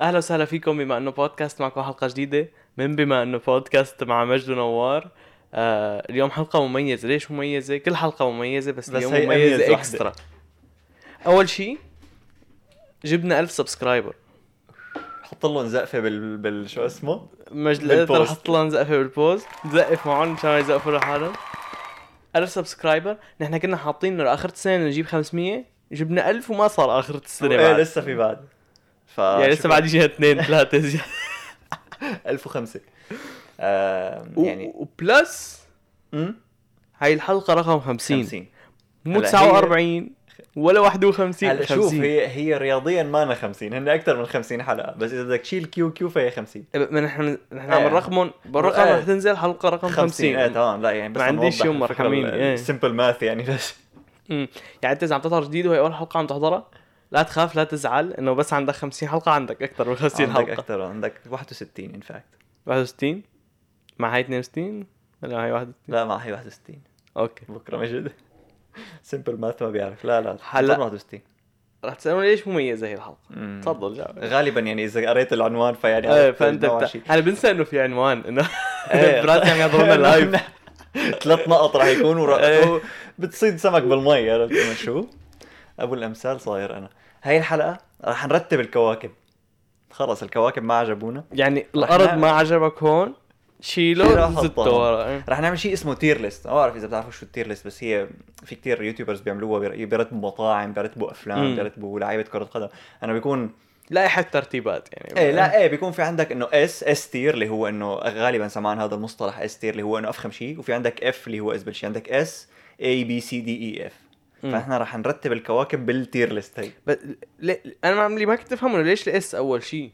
اهلا وسهلا فيكم بما انه بودكاست معكم حلقه جديده من بما انه بودكاست مع مجد ونوار آه اليوم حلقه مميزه ليش مميزه كل حلقه مميزه بس, بس اليوم هي أميز مميزه وحدة. اكسترا اول شيء جبنا ألف سبسكرايبر حط لهم زقفه بال بال شو اسمه مجد بالبوست. رح احط لهم زقفه بالبوست زقف معهم مشان ما يزقفوا لحالهم ألف سبسكرايبر نحن كنا حاطين انه لاخر السنه نجيب 500 جبنا 1000 وما صار اخر السنه ايه بعد لسه آه، في بعد ف يعني لسه بعد يجي اثنين ثلاثه زيادة. 1005 آه يعني و- وبلس أمم، هاي الحلقه رقم 50 50 مو هلا 49 ولا 51 هلا شوف 50 هي هي رياضيا ما أنا 50 هن اكثر من 50 حلقه بس اذا بدك تشيل كيو كيو فهي 50 ما نحن نحن إيه. عم نرقمهم بالرقم إيه. رح تنزل حلقه رقم 50 ايه 50 تمام لا يعني بس ما عنديش يوم مرحمين، إيه. سمبل ماث يعني بس أمم. يعني انت اذا عم تظهر جديد وهي اول حلقه عم تحضرها لا تخاف لا تزعل انه بس عندك 50 حلقه عندك اكثر من 50 عندك حلقه اكثر عندك 61 ان فاكت 61 مع هاي 62 ولا هاي 61 لا ما هي 61 اوكي بكره مجد سمبل ماث ما بيعرف لا لا هلا. 61 رح تسالوني ليش مميزه هي الحلقه أمم. تفضل جاوب غالبا يعني اذا قريت العنوان فيعني ايه عرفت فانت نوعاً بت... شيء. انا بنسى انه في عنوان انه إيه. براسي عم يحضرونا لايف ثلاث نقط راح يكونوا إيه. ورا... بتصيد سمك بالمي عرفت أنا شو؟ ابو الامثال صاير انا هاي الحلقه راح نرتب الكواكب خلص الكواكب ما عجبونا يعني الارض نعمل- ما عجبك هون شيله شيله زته حطها. ورا إيه. رح نعمل شيء اسمه تير ليست ما بعرف اذا بتعرفوا شو التير ليست بس هي في كتير يوتيوبرز بيعملوها بير- بيرتبوا مطاعم بيرتبوا مم. افلام بيرتبوا لعيبه كره قدم انا بيكون لائحه ترتيبات يعني ايه لا ايه بيكون في عندك انه اس اس تير اللي هو انه غالبا سمعان هذا المصطلح اس تير اللي هو انه افخم شيء وفي عندك اف اللي هو اسبل شيء عندك اس اي بي سي دي اي اف مم. فاحنا رح نرتب الكواكب طيب. بالتير ليست هي بس ليه- انا ما اللي ما كنت افهمه إنه ليش الاس اول شيء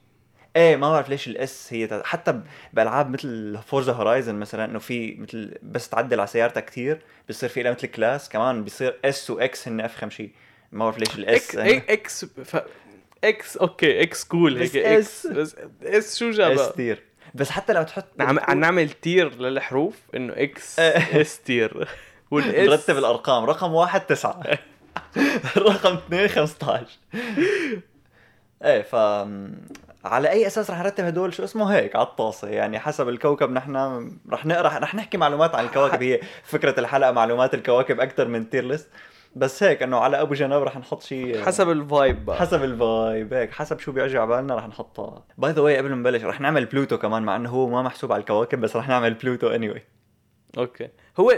ايه ما بعرف ليش الاس هي تع- حتى ب- بالعاب مثل فورزا هورايزن مثلا انه في مثل بس تعدل على سيارتك كثير بصير في لها مثل كلاس كمان بصير اس واكس هن افخم شيء ما بعرف ليش الاس اكس اكس إيه، ف... اكس اوكي اكس كول هيك بس اكس إس. بس اس شو اس جابها تير بس حتى لو تحط عم عم نعمل تير للحروف انه اكس إيه. اس تير والاس نرتب الارقام رقم واحد تسعة رقم اثنين 15 ايه ف على اي اساس رح نرتب هدول شو اسمه هيك على الطاسه يعني حسب الكوكب نحن رح نقرا رح نحكي معلومات عن الكواكب هي فكره الحلقه معلومات الكواكب اكثر من تير ليست بس هيك انه على ابو جناب رح نحط شيء حسب الفايب بقى حسب الفايب هيك حسب شو بيعجي على بالنا رح نحطها باي ذا واي قبل ما نبلش رح نعمل بلوتو كمان مع انه هو ما محسوب على الكواكب بس رح نعمل بلوتو اني anyway. اوكي هو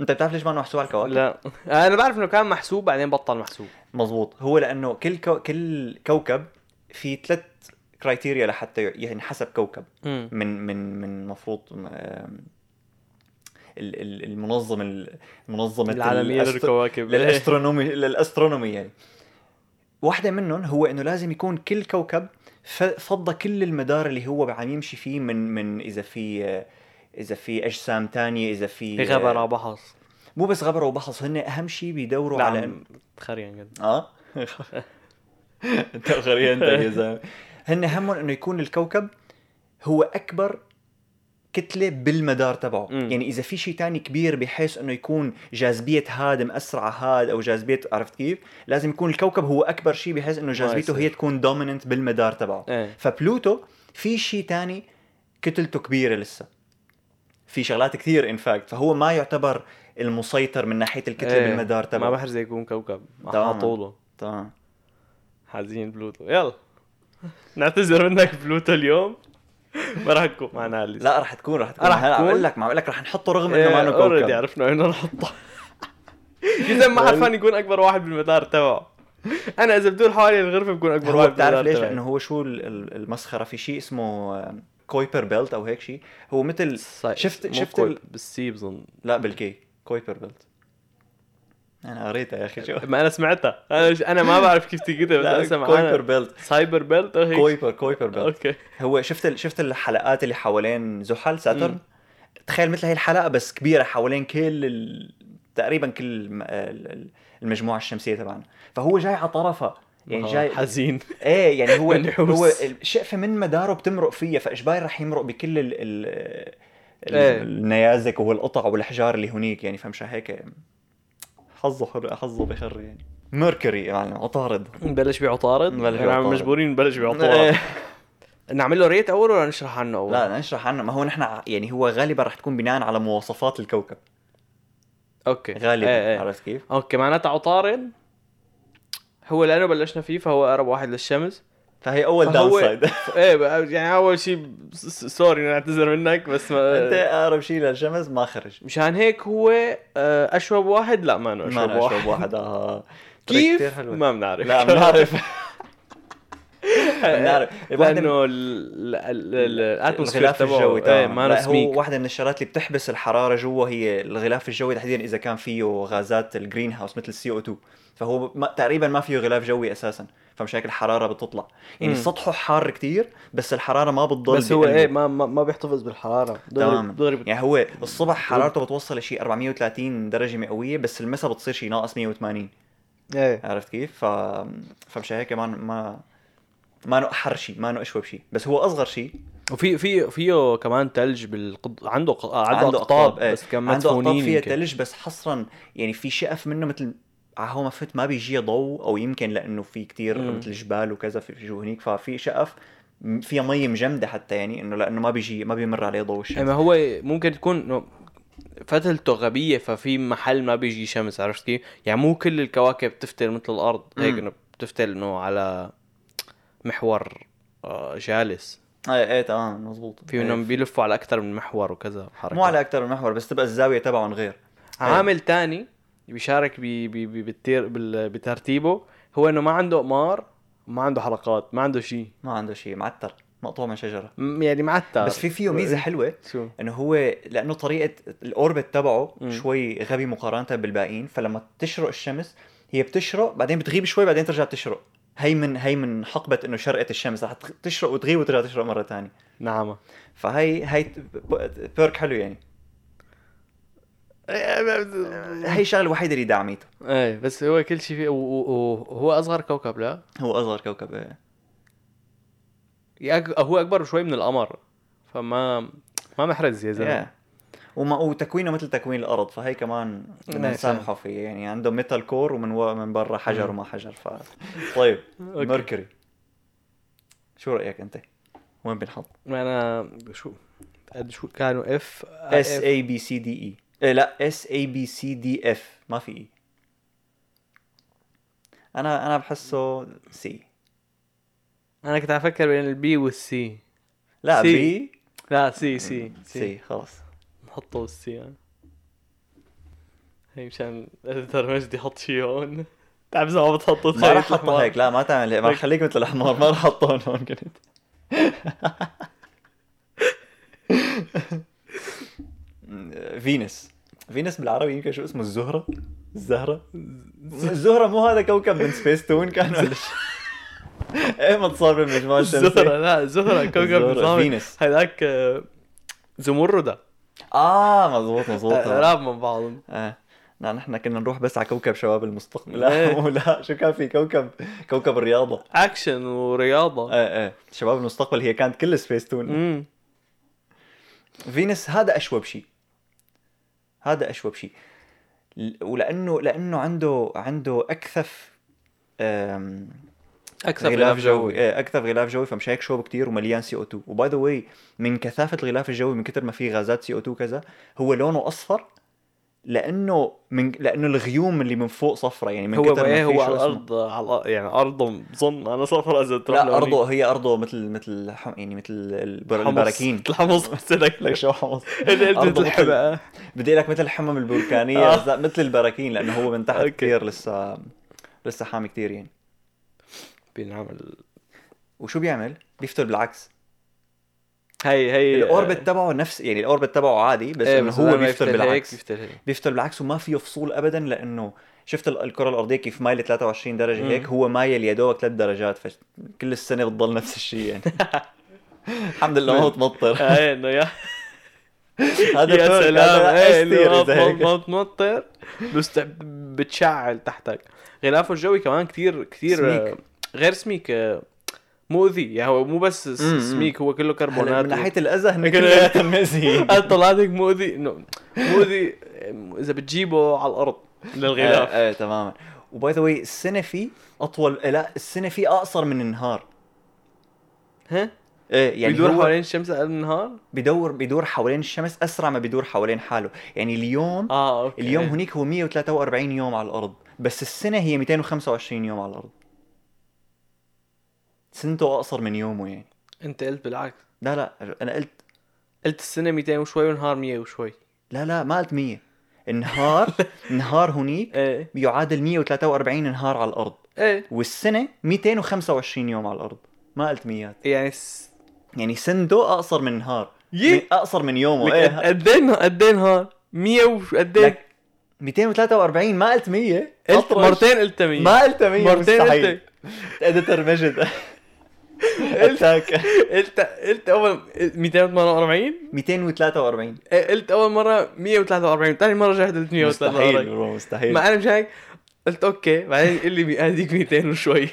انت بتعرف ليش ما إنه محسوب على الكواكب؟ لا انا بعرف انه كان محسوب بعدين بطل محسوب مظبوط هو لانه كل كو... كل كوكب في ثلاث كرايتيريا لحتى ي- ينحسب كوكب امم من من من مفروض م- آم، ال- ال- المنظم ال- منظمه العالميه الأست- للكواكب للاسترونومي للاسترونومي يعني واحدة منهم هو انه لازم يكون كل كوكب ف- فضى كل المدار اللي هو عم يمشي فيه من من اذا في آه، اذا في اجسام تانية اذا في آه، إيه، غبرة بحص مو بس غبره وبحص هن اهم شيء بيدوروا على نعم تخرين قد اه انت غريب انت يا زلمه هن همهم انه يكون الكوكب هو اكبر كتله بالمدار تبعه مم. يعني اذا في شيء تاني كبير بحيث انه يكون جاذبيه هاد مأسرع هاد او جاذبيه عرفت كيف لازم يكون الكوكب هو اكبر شيء بحيث انه جاذبيته يصير. هي تكون دوميننت بالمدار تبعه ايه فبلوتو في شيء تاني كتلته كبيره لسه في شغلات كثير انفاكت فهو ما يعتبر المسيطر من ناحيه الكتله إيه. بالمدار ما تبعه بحر زي يكون كوكب تمام. حاطوله تمام حزين بلوتو يلا نعتذر منك بلوتو اليوم ما راح تكون معنا هلا لا رح تكون رح تكون رح هلا عم تكون؟ إيه، بقول لك ما عم بقول لك رح نحطه رغم انه ما انه اوريدي كوكب عرفنا وين نحطه اذا ما عرفان يكون اكبر واحد بالمدار تبعه انا اذا بدور حوالي الغرفه بكون اكبر هو واحد بتعرف بالمدار ليش تبعي. لانه هو شو ال- ال- المسخره في شيء اسمه آه، كويبر بيلت او هيك شيء هو مثل صحيح. شفت- مو شفت كوي- ال- بالسي بظن لا بالكي كويبر بيلت انا قريتها يا اخي شو ما انا سمعتها انا ش- انا ما بعرف كيف تكتبها بس انا لا كويبر سمعانه بيلت سايبر بيلت أو هيك؟ كويبر كويبر بيلت اوكي هو شفت ال- شفت الحلقات اللي حوالين زحل مم. ساترن تخيل مثل هي الحلقه بس كبيره حوالين كل ال... تقريبا كل الم- ال- ال- المجموعه الشمسيه تبعنا فهو جاي على طرفها يعني آه، جاي حزين ايه يعني هو منحوس. هو الشقفه من مداره بتمرق فيها فاجباري رح يمرق بكل ال ال ال- إيه. النيازك والقطع والحجار اللي هنيك يعني فمشان هيك حظه حر حظه بخر يعني ميركوري يا معلم عطارد نبلش بعطارد نبلش نحن بعطارد. مجبورين نبلش بعطارد إيه. نعمل له ريت اول ولا نشرح عنه اول؟ لا نشرح عنه ما هو نحن ع- يعني هو غالبا رح تكون بناء على مواصفات الكوكب اوكي غالبا إيه، إيه. عرفت كيف؟ اوكي معناتها عطارد هو لانه بلشنا فيه فهو اقرب واحد للشمس فهي اول داون فهو- سايد ايه بقى- يعني اول شيء س- س- سوري أنا اعتذر منك بس انت ما اقرب شيء للشمس ما خرج مشان هيك هو آه، اشوب واحد لا ما انه ما اشوب أنا واحد اشرب واحد آه. طريقة كتير كيف حلوة. ما بنعرف لا بنعرف بنعرف الواحدة من- لانه ال- ال- ال- الاتموسفير الغلاف الجوي تبعه ايه تمام ما لا هو سميك واحدة من الشغلات اللي بتحبس الحرارة جوا هي الغلاف الجوي تحديدا إذا كان فيه غازات الجرين هاوس مثل السي او 2 فهو ما تقريبا ما فيه غلاف جوي أساسا فمش هيك الحرارة بتطلع يعني مم. سطحه حار كتير بس الحرارة ما بتضل بس هو بقلبه. ايه ما ما, ما بيحتفظ بالحراره دغري تماما دغري بت- يعني هو الصبح حرارته بتوصل لشيء 430 درجة مئوية بس المساء بتصير شيء ناقص 180 ايه عرفت كيف؟ ف فمش هيك ما ما ما انه احر شيء، ما انه اشوب شيء، بس هو اصغر شيء وفي في فيه كمان ثلج بالقط... عنده ق... آه، عنده, عنده اقطاب إيه. بس كان عنده اقطاب مدفونين فيها يمكن. ثلج بس حصرا يعني في شقف منه مثل على هو ما فت ما بيجي ضوء او يمكن لانه في كتير مم. مثل جبال وكذا في في جو هنيك ففي شقف م- فيها مي مجمده حتى يعني انه لانه ما بيجي ما بيمر عليه ضوء الشمس اما هو ممكن تكون إنه فتلته غبيه ففي محل ما بيجي شمس عرفت كيف؟ يعني مو كل الكواكب بتفتل مثل الارض هيك مم. انه بتفتل انه على محور آه، جالس ايه ايه تمام مزبوط في إيه. منهم بيلفوا على اكثر من محور وكذا حركة. مو على اكثر من محور بس تبقى الزاويه تبعهم غير عامل تاني بيشارك بي بي بي بالتير بال- بترتيبه هو انه ما عنده قمار ما عنده حلقات ما عنده شيء ما عنده شيء معتر مقطوع من شجره م- يعني معتر بس في فيه ميزه حلوه شو انه هو لانه طريقه الاوربت تبعه مم. شوي غبي مقارنه بالباقيين فلما تشرق الشمس هي بتشرق بعدين بتغيب شوي بعدين ترجع تشرق هي من هي من حقبه انه شرقت الشمس رح تغ- تشرق وتغيب وترجع تشرق مره تانية نعمه فهي هي بيرك حلو يعني هي الشغله الوحيده اللي دعميته ايه إيه، بس هو كل شيء فيه وهو اصغر كوكب لا هو اصغر كوكب إيه. يا أك- هو اكبر شوي من القمر فما ما محرز يا زلمه Yeah. وما وتكوينه مثل تكوين الارض فهي كمان بدنا ماشي. نسامحه فيه يعني عنده ميتال كور ومن و... من برا حجر وما حجر ف طيب Mm. أوكي. ميركوري شو رايك انت؟ وين بنحط؟ Uh, انا شو قد شو كانوا اف اس اي بي سي دي اي إيه لا اس اي بي سي دي اف ما في E. اي انا انا بحسه سي انا كنت عم افكر بين البي والسي لا C. بي لا سي سي سي خلص نحطه بالسي يعني. هي مشان الاديتر مجدي يحط شيء هون تعرف إذا ما بتحطه ما تخيل راح الحمار. احطها هيك لا ما تعمل هيك ما رح خليك مثل الحمار ما راح احطهم هون كنت فينس فينس بالعربي يمكن شو اسمه الزهرة الزهرة الزهرة مو هذا كوكب من سبيس تون كان ولا شو؟ ايه ما تصاب بالمجموعة زهرة الشمسية لا زهرة كوكب زهرة، نظامي فينوس. هيداك آه، زمردة اه مضبوط مضبوط آه، قراب من بعض آه. لا نحن كنا نروح بس على كوكب شباب المستقبل إيه. لا مو لا شو كان في كوكب كوكب الرياضة اكشن ورياضة ايه ايه شباب المستقبل هي كانت كل سبيس تون امم فينس هذا اشوب شيء هذا اشوب شيء ل- ولانه لانه عنده عنده اكثف أم، اكثر غلاف جوي ايه اكثف غلاف جوي فمش هيك شوب كتير ومليان سي او 2 وباي ذا واي من كثافه الغلاف الجوي من كتر ما فيه غازات سي او 2 كذا هو لونه اصفر لانه من لانه الغيوم اللي من فوق صفرة يعني من هو كتر ما ايه فيه هو شو على اسمه. الارض على الأرض- يعني ارضه بظن انا صفر اذا تروح لا لهونيك. ارضه هي ارضه مثل مثل حم- يعني مثل البر- حمص. البراكين الحمص بس لك لك شو حمص قلت أرضه مثل- الحبقة بدي لك مثل الحمم البركانيه آه. بس لا، مثل البراكين لانه هو من تحت أوكي. كثير لسه لسه حامي كثير يعني بنعمل وشو بيعمل؟ بيفتل بالعكس هي هي الاوربت تبعه نفس يعني الاوربت تبعه عادي بس ايه انه إيه. بس بدل ما هو بيفتل بالعكس يفتل هيك بيفتل بالعكس وما فيه فصول ابدا لانه شفت ال- الكره الارضيه كيف مايله 23 درجه مم. هيك هو مايل يا دوبك ثلاث درجات فكل السنه بتضل نفس الشيء يعني الحمد لله ما بتمطر ايه انه يا هذا يا فرق، سلام هذا ايه كتير لو إذا ما- هيك. ما تمطر بس تع- بتشعل تحتك غلافه الجوي كمان كثير كثير سميك. غير سميك آه، مؤذي يعني هو مو بس س- مم، مم. سميك هو كله هلا كربونات من و- ناحيه الاذى هن لكن- كلياتهم مأذيين أنا طلعت هيك مؤذي انه مؤذي آه، اذا بتجيبه على الارض للغلاف ايه, ايه تماما وباي ذا واي السنه فيه اطول لا السنه فيه اقصر من النهار ها ايه يعني يعني بيدور هو حوالين الشمس اقل من النهار بيدور بيدور حوالين الشمس اسرع ما بيدور حوالين حاله يعني اليوم اه اوكي اليوم هنيك هو 143 يوم على الارض بس السنه هي 225 يوم على الارض سنته اقصر من يومه يعني انت قلت بالعكس لا لا انا قلت قلت السنه 200 وشوي والنهار 100 وشوي لا لا ما قلت 100 النهار النهار هنيك ايه بيعادل 143 نهار على الارض ايه والسنه 225 يوم على الارض ما قلت ميات يعني س... يعني سنته اقصر من نهار يي. من- اقصر من يومه لك ايه قد ايه نه- قد ايه نهار 100 وقد ايه لك 243 ما قلت 100 قلت مرتين قلت 100 ما قلت 100 مرتين مستحيل قلت إيه؟ اديتر مجد اتاك قلت قلت اول 248 243 إيه، قلت اول مره 143 ثاني مره جاي قلت 143 مستحيل برو مستحيل ما انا مش هيك قلت اوكي بعدين قال لي هذيك 200 وشوي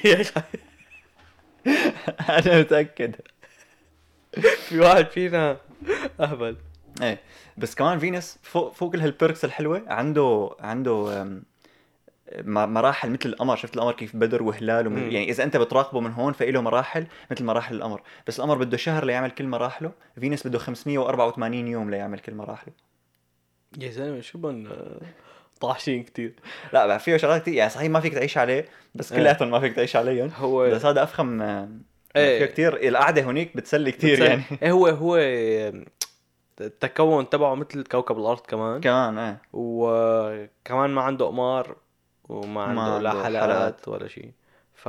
انا متاكد في واحد فينا اهبل ايه بس كمان فينس فوق فوق كل هالبيركس الحلوه عنده عنده أم، م- مراحل مثل القمر شفت القمر كيف بدر وهلال ومن مم. يعني اذا انت بتراقبه من هون فإله مراحل مثل مراحل القمر بس القمر بده شهر ليعمل كل مراحله فينس بده 584 يوم ليعمل كل مراحله يا زلمه شو بن طاحشين كثير لا بقى فيه شغلات كتير يعني صحيح ما فيك تعيش عليه بس إيه. كلياتهم ما فيك تعيش عليهم هو بس هذا افخم أم، إيه. فيه كتير القعده هونيك بتسلي كتير بتصير- يعني ايه هو هو التكون تبعه مثل كوكب الارض كمان كمان ايه وكمان ما عنده اقمار وما عنده, ما لا عنده حلقات, حلقات. ولا شيء ف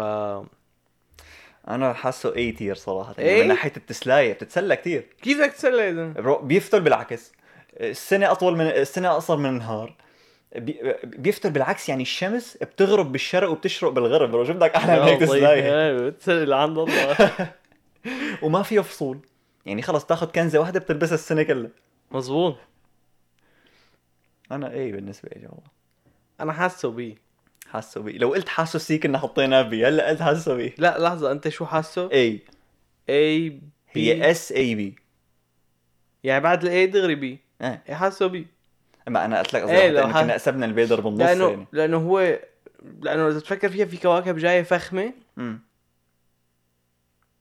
انا حاسه اي تير صراحه إيه؟ يعني من ناحيه التسلايه بتتسلى كتير كيف بدك تسلى اذا؟ برو- بيفتل بالعكس السنه اطول من السنه اقصر من النهار بي- بيفتل بالعكس يعني الشمس بتغرب بالشرق وبتشرق بالغرب برو شو بدك احلى من هيك تسلاي تسلى إيه، لعند الله وما فيه فصول يعني خلص تاخذ كنزه واحده بتلبسها السنه كلها مزبوط انا ايه بالنسبه لي والله انا حاسه بيه حاسه بي لو قلت حاسه سي كنا حطيناه بي هلا قلت حاسه بي لا لحظه انت شو حاسه؟ اي إيه. اي بي هي اس اي بي يعني بعد الاي دغري بي ايه إيه، حاسه بي ما انا قلت لك إيه، قصدي لو لو حاس- كنا قسمنا البيدر بالنص لانه يعني لانه هو لانه اذا تفكر فيها في كواكب جايه فخمه مم.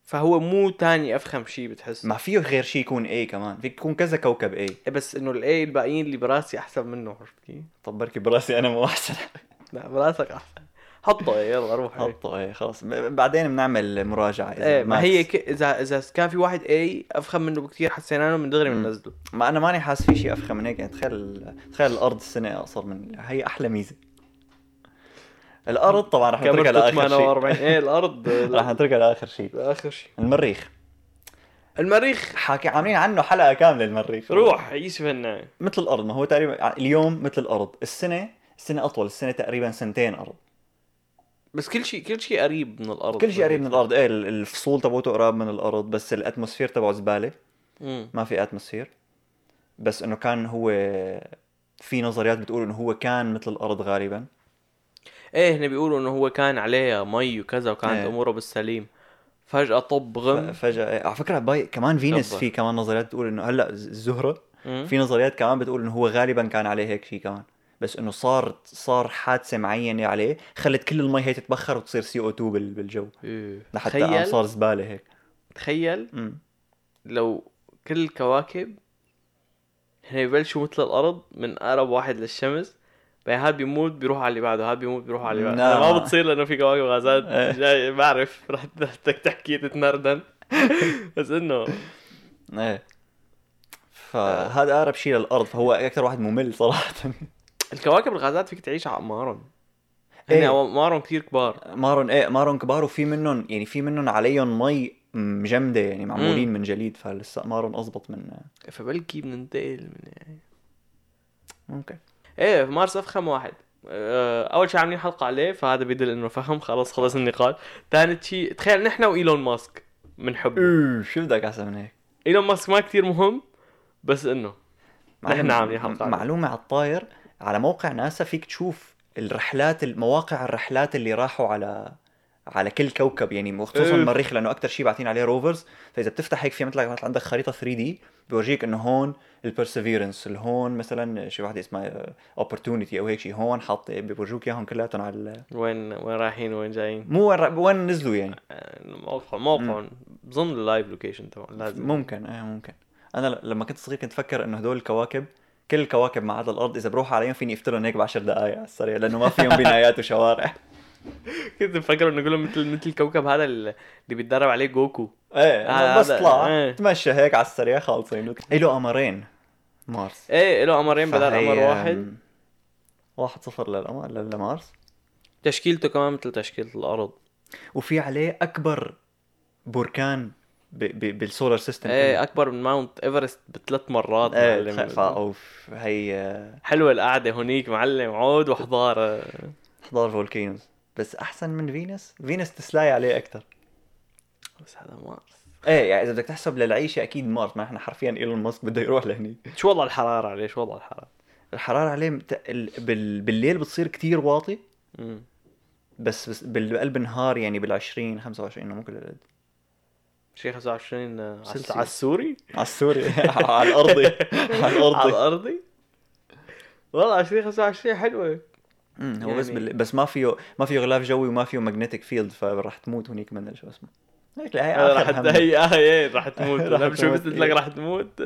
فهو مو تاني افخم شيء بتحس ما فيه غير شيء يكون اي كمان فيك يكون كذا كوكب اي إيه، بس انه الاي الباقيين اللي براسي احسن منه عرفت كيف؟ طب بركي براسي انا مو احسن لا براسك احسن حطه إيه، يلا روح إيه. حطه ايه خلص ب- بعدين بنعمل مراجعه إذا ايه ما ماكس. هي ك... اذا اذا كان في واحد اي افخم منه بكثير حسينا له من دغري مم. بننزله ما انا ماني حاسس في شيء افخم من هيك يعني تخيل تخيل الارض السنه اقصر من هي احلى ميزه الارض طبعا رح نتركها كاميرته لاخر شيء 48 ايه الارض رح نتركها لاخر شيء اخر شيء المريخ المريخ حاكي عاملين عنه حلقه كامله المريخ روح عيش فينا مثل الارض ما هو تقريبا ع- اليوم مثل الارض السنه السنه اطول السنه تقريبا سنتين ارض بس كل شيء كل شيء قريب من الارض كل شيء قريب من الارض ايه ال- الفصول تبعته قراب من الارض بس الاتموسفير تبعه زباله مم. ما في اتموسفير بس انه كان هو في نظريات بتقول انه هو كان مثل الارض غالبا ايه هن بيقولوا انه هو كان عليه مي وكذا وكانت إيه. اموره بالسليم فجأة طب غم فجاه إيه، على فكره باي كمان فينس تفضل. في كمان نظريات بتقول انه هلا ز- الزهره مم. في نظريات كمان بتقول انه هو غالبا كان عليه هيك شيء كمان بس انه صار صار حادثه معينه عليه خلت كل المي هي تتبخر وتصير سي او 2 بالجو إيه. لحتى قام تخيل صار زباله هيك تخيل مم. لو كل الكواكب هن ببلشوا مثل الارض من اقرب واحد للشمس بعدين هاد بيموت بيروح على اللي بعده هاد بيموت بيروح على اللي بعده نعم. أنا ما بتصير لانه في كواكب غازات إيه. جاي بعرف رح بدك تحكي تتنردن بس انه ايه فهذا اقرب شيء للارض فهو اكثر واحد ممل صراحه الكواكب الغازات فيك تعيش على اقمارهم هن إيه. اقمارهم كثير كبار مارون ايه مارون كبار وفي منهم يعني في منهم عليهم مي مجمده يعني معمولين من جليد فلسه مارون اضبط من فبلكي بننتقل من ممكن ايه مارس افخم واحد آه، اول شيء عاملين حلقه عليه فهذا بيدل انه فخم خلاص خلص النقاش ثاني شيء تخيل نحن وايلون ماسك بنحبه أوه، شو بدك احسن من هيك ايلون ماسك ما كثير مهم بس انه نحن عاملين حلقة عنه. معلومه على الطاير على موقع ناسا فيك تشوف الرحلات مواقع الرحلات اللي راحوا على على كل كوكب يعني وخصوصا إيه. المريخ لانه اكثر شيء باعتين عليه روفرز فاذا بتفتح هيك في مثل مثل عندك خريطه 3 دي بورجيك انه هون البرسيفيرنس هون مثلا شي وحده اسمها اوبورتونيتي او هيك شيء هون حاط بورجوك اياهم كلياتهم على ال- وين وين رايحين وين جايين مو وين را- وين نزلوا يعني آه، موقع موقع بظن اللايف لوكيشن تبعهم لازم ممكن ايه ممكن انا ل- لما كنت صغير كنت افكر انه هدول الكواكب كل الكواكب ما عدا الارض اذا بروح عليهم فيني افتلهم هيك بعشر دقائق على السريع لانه ما فيهم بنايات وشوارع كنت مفكر انه كله مثل مثل الكوكب هذا اللي بيتدرب عليه جوكو ايه هذا- بس طلع إيه. تمشى هيك على السريع خالصين إيه، له قمرين مارس ايه له قمرين بدل فهي- قمر واحد واحد صفر للقمر لمارس تشكيلته كمان مثل تشكيلة الارض وفي عليه اكبر بركان ب... ب... بالسولار سيستم ايه اكبر من ماونت ايفرست بثلاث مرات ايه معلم خ- فا- اوف هي آه، حلوه القعده هونيك معلم عود وحضاره احضار فولكينوز بس احسن من فينس فينس تسلاي عليه اكثر بس هذا مارس ايه يعني اذا بدك تحسب للعيشه اكيد مارس ما احنا حرفيا ايلون ماسك بده يروح لهني شو وضع الحراره عليه شو وضع الحراره الحراره عليه مت... ال... بال... بالليل بتصير كتير واطي مم. بس, بس بالقلب النهار يعني بال20 25 إنه مو كل القد شي 25 آه، على سلسيوس. على السوري على السوري على الارضي على على الارضي الارضي والله 20 25 حلوه أمم، هو بس يعني- بال... بس ما فيه ما فيه غلاف جوي وما فيه ماجنتيك فيلد فرح تموت هنيك من شو اسمه هيك لا هي راح آخر هم. هي آه، هي راح تموت راح انا بشوف تموت، قلت لك إيه. راح تموت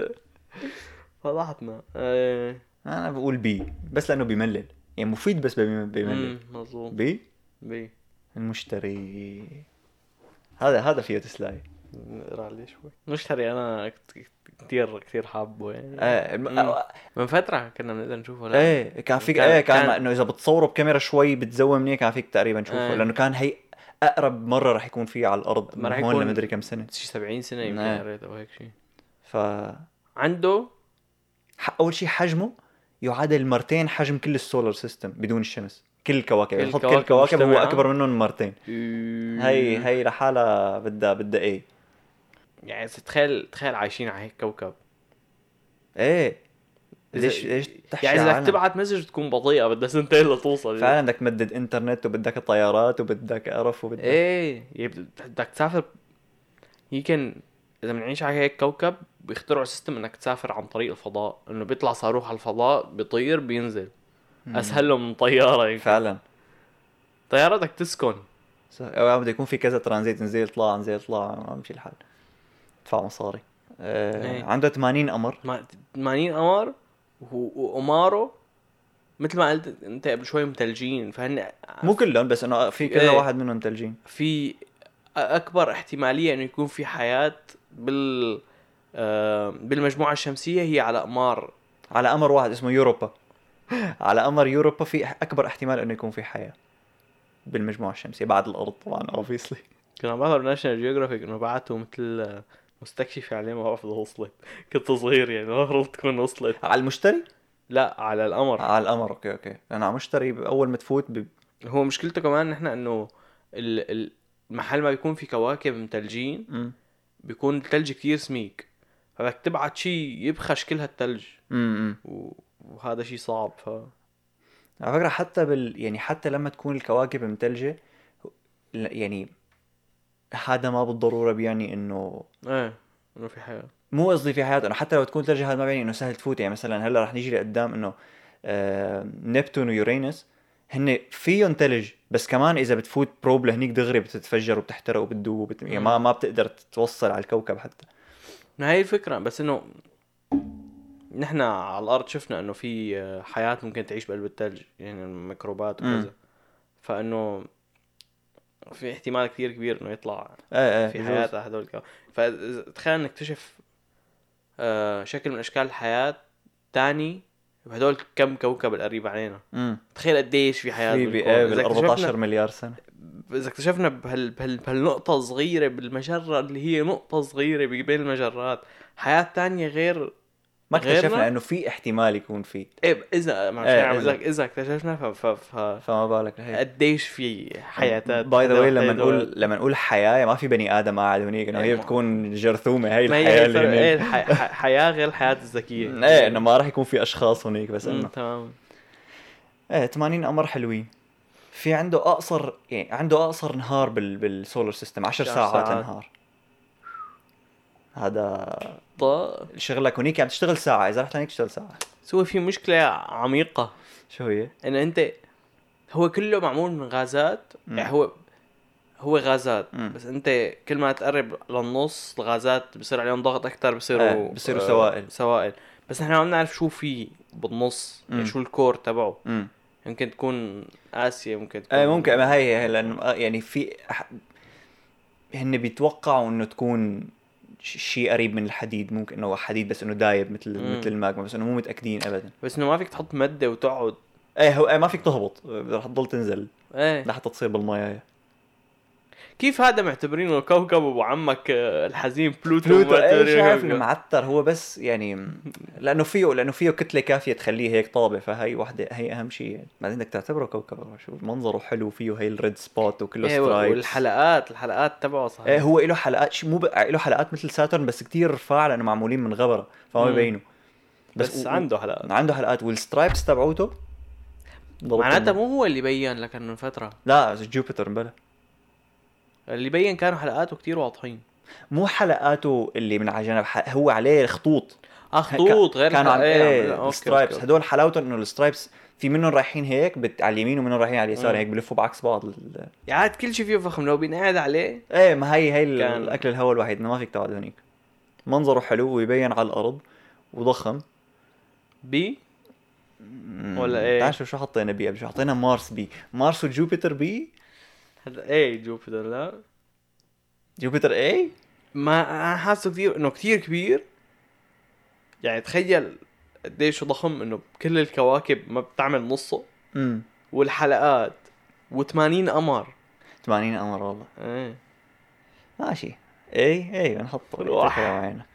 فضحتنا آه، ايه انا بقول بي بس لانه بملل يعني مفيد بس بم- بملل مم، مظبوط بي بي المشتري هذا هذا فيه تسلاي نقرا عليه شوي مشتري انا كت- كتير كتير حابه يعني ايه الم- مم. من فتره كنا بنقدر نشوفه لا ايه كان فيك كان- ايه كان, كان- انه اذا بتصوره بكاميرا شوي بتزوم منيح كان فيك تقريبا تشوفه إيه. لانه كان هي اقرب مره رح يكون فيه على الارض ما ما رح رح هون يكون- لمدري كم سنه شي 70 سنه يمكن نعم. قريت او هيك شيء ف عنده ح- اول شيء حجمه يعادل مرتين حجم كل السولار سيستم بدون الشمس كل الكواكب كل يعني حط كل الكواكب الكواكب هو مجتمعة. اكبر منهم مرتين آه، هي هي لحالها بدها بدها ايه يعني تخيل تخيل عايشين على هيك كوكب ايه إذا- ليش ليش تحشي يعني اذا العالم؟ تبعت مسج تكون بطيئه بدها سنتين لتوصل فعلا بدك تمدد انترنت وبدك طيارات وبدك قرف وبدك ايه يعني بت- بدك تسافر يمكن اذا بنعيش على هيك كوكب بيخترعوا سيستم انك تسافر عن طريق الفضاء انه بيطلع صاروخ على الفضاء بيطير بينزل مم. اسهل له من طياره يمكن فعلا طياره بدك تسكن صح. او بده يكون في كذا ترانزيت نزيل اطلاع نزيل اطلاع ما بمشي الحال ادفع مصاري آه إيه. عنده 80 قمر ما- 80 قمر و- وقماره مثل ما قلت انت قبل شوي مثلجين فهن مو كلهم بس انه في كذا إيه. واحد منهم ثلجين في اكبر احتماليه انه يكون في حياه بال آه، بالمجموعه الشمسيه هي على اقمار على قمر واحد اسمه يوروبا على قمر يوروبا في اكبر احتمال انه يكون في حياه بالمجموعه الشمسيه بعد الارض طبعا اوبسلي كنا عم بحضر ناشونال جيوغرافيك انه بعتوا مثل مستكشفة عليه ما بعرف اذا وصلت كنت صغير يعني ما المفروض تكون وصلت على المشتري لا على القمر على القمر اوكي اوكي انا على المشتري اول ما تفوت ب... هو مشكلته كمان نحن انه ال- ال- محل ما بيكون في كواكب مثلجين مم. بيكون الثلج كتير سميك فبدك تبعت شيء يبخش كل هالثلج مم. مم. و... وهذا شيء صعب ف على فكرة حتى بال يعني حتى لما تكون الكواكب متلجة ل- يعني هذا ما بالضرورة بيعني انه ايه انه في حياة مو قصدي في حياتنا انه حتى لو تكون ثلجة هذا ما بيعني انه سهل تفوت يعني مثلا هلا رح نيجي لقدام انه آه نبتون ويورينس هن فيهم ثلج بس كمان اذا بتفوت بروب لهنيك دغري بتتفجر وبتحترق وبتدوب وبت... يعني ما ما بتقدر توصل على الكوكب حتى ما هي الفكرة بس انه نحن على الارض شفنا انه في حياة ممكن تعيش بقلب الثلج يعني الميكروبات مم. وكذا فانه في احتمال كثير كبير انه يطلع ايه ايه في بجوز. حياة على هدول الكواكب فتخيل نكتشف آه، شكل من اشكال الحياة تاني بهدول كم كوكب القريب علينا امم تخيل قديش في حياة في بالكون. بقى إذا بال اكتشفنا 14 مليار سنة اذا اكتشفنا بهال بهال بهالنقطة صغيرة بالمجرة اللي هي نقطة صغيرة بين المجرات، حياة تانية غير ما غيرنا؟ اكتشفنا انه في احتمال يكون في ايه اذا ما إيه، ايه عم إذا. إيه. لك اذا اكتشفنا ف ف ف فما بالك لهيك قديش في حياتات باي ذا واي لما هدول- نقول لما نقول حياه ما في بني ادم قاعد هنيك انه هي إيه. بتكون جرثومه هي ما هي الحياه هي اللي الفرق، ايه هنيك الح- ح- حياة غير الحياة الذكية ايه انه ما راح يكون في اشخاص هنيك بس أمم، انه تمام ايه 80 قمر إيه، حلوين في عنده اقصر يعني عنده اقصر نهار بال... بالسولار سيستم 10 10 ساعات, ساعات. نهار هذا طيب شغلك هنيك عم تشتغل ساعه اذا رحت هنيك تشتغل ساعه سوى في مشكله عميقه شو هي؟ انه انت هو كله معمول من غازات مم. يعني هو هو غازات مم. بس انت كل ما تقرب للنص الغازات بصير عليهم ضغط اكثر بصيروا آه، إيه، بصيروا سوائل. سوائل بس نحن ما بنعرف شو في بالنص يعني مم. شو الكور تبعه امم يمكن تكون اسيا ممكن تكون ايه ممكن ما هي هي لانه آه، يعني في أح- هن بيتوقعوا انه تكون ش- شيء قريب من الحديد ممكن انه حديد بس انه دايب مثل مم. مثل الماجما بس انه مو متاكدين ابدا بس انه ما فيك تحط ماده وتقعد ايه هو ايه ما فيك تهبط آه، رح تضل تنزل ايه لحتى تصير بالمايه هي. كيف هذا معتبرينه كوكب ابو عمك آه، الحزين بلوتو بلوتو إيه، ايش معتبرينه عارف انه كوكب. معتر هو بس يعني لانه فيه لانه فيه كتله كافيه تخليه هيك طابه فهي وحده هي اهم شيء يعني بعدين بدك تعتبره كوكب شو منظره حلو فيه هي الريد سبوت وكله ايه سترايبس والحلقات الحلقات تبعه صحيح ايه هو له حلقات شي- مو ب... له حلقات مثل ساترن بس كتير رفاع لانه معمولين من غبره فما مم. بيبينوا بس, و- و- عنده حلقات عنده حلقات والسترايبس تبعوته ضربت معناتها ال- مو هو اللي بين لك من فتره لا جوبيتر بلا اللي بين كانوا حلقاته كتير واضحين مو حلقاته اللي من على جنب ح- هو عليه خطوط اه خطوط غير كانوا عم الحلقة. عم- ايه إيه، أوكي، السترايبس أوكي. هدول حلاوتهم انه السترايبس في منهم رايحين هيك بت... على اليمين ومنهم رايحين على اليسار مم. هيك بلفوا بعكس بعض ال... يعني عاد كل شيء فيه فخم لو بينقعد عليه ايه ما هي هي ال- كان- الاكل الهوا الوحيد انه ما فيك تقعد هنيك منظره حلو ويبين على الارض وضخم بي مم. ولا إيه؟ تعال شوف شو حطينا بي قبل شو حطينا مارس بي مارس وجوبيتر بي هذا ايه جوبيتر لا جوبيتر اي ما انا حاسه كثير انه كثير كبير يعني تخيل قديش ضخم انه كل الكواكب ما بتعمل نصه امم والحلقات و80 قمر 80 قمر والله ايه ماشي إيه، اي اي بنحطه الواحد. تكرم عينك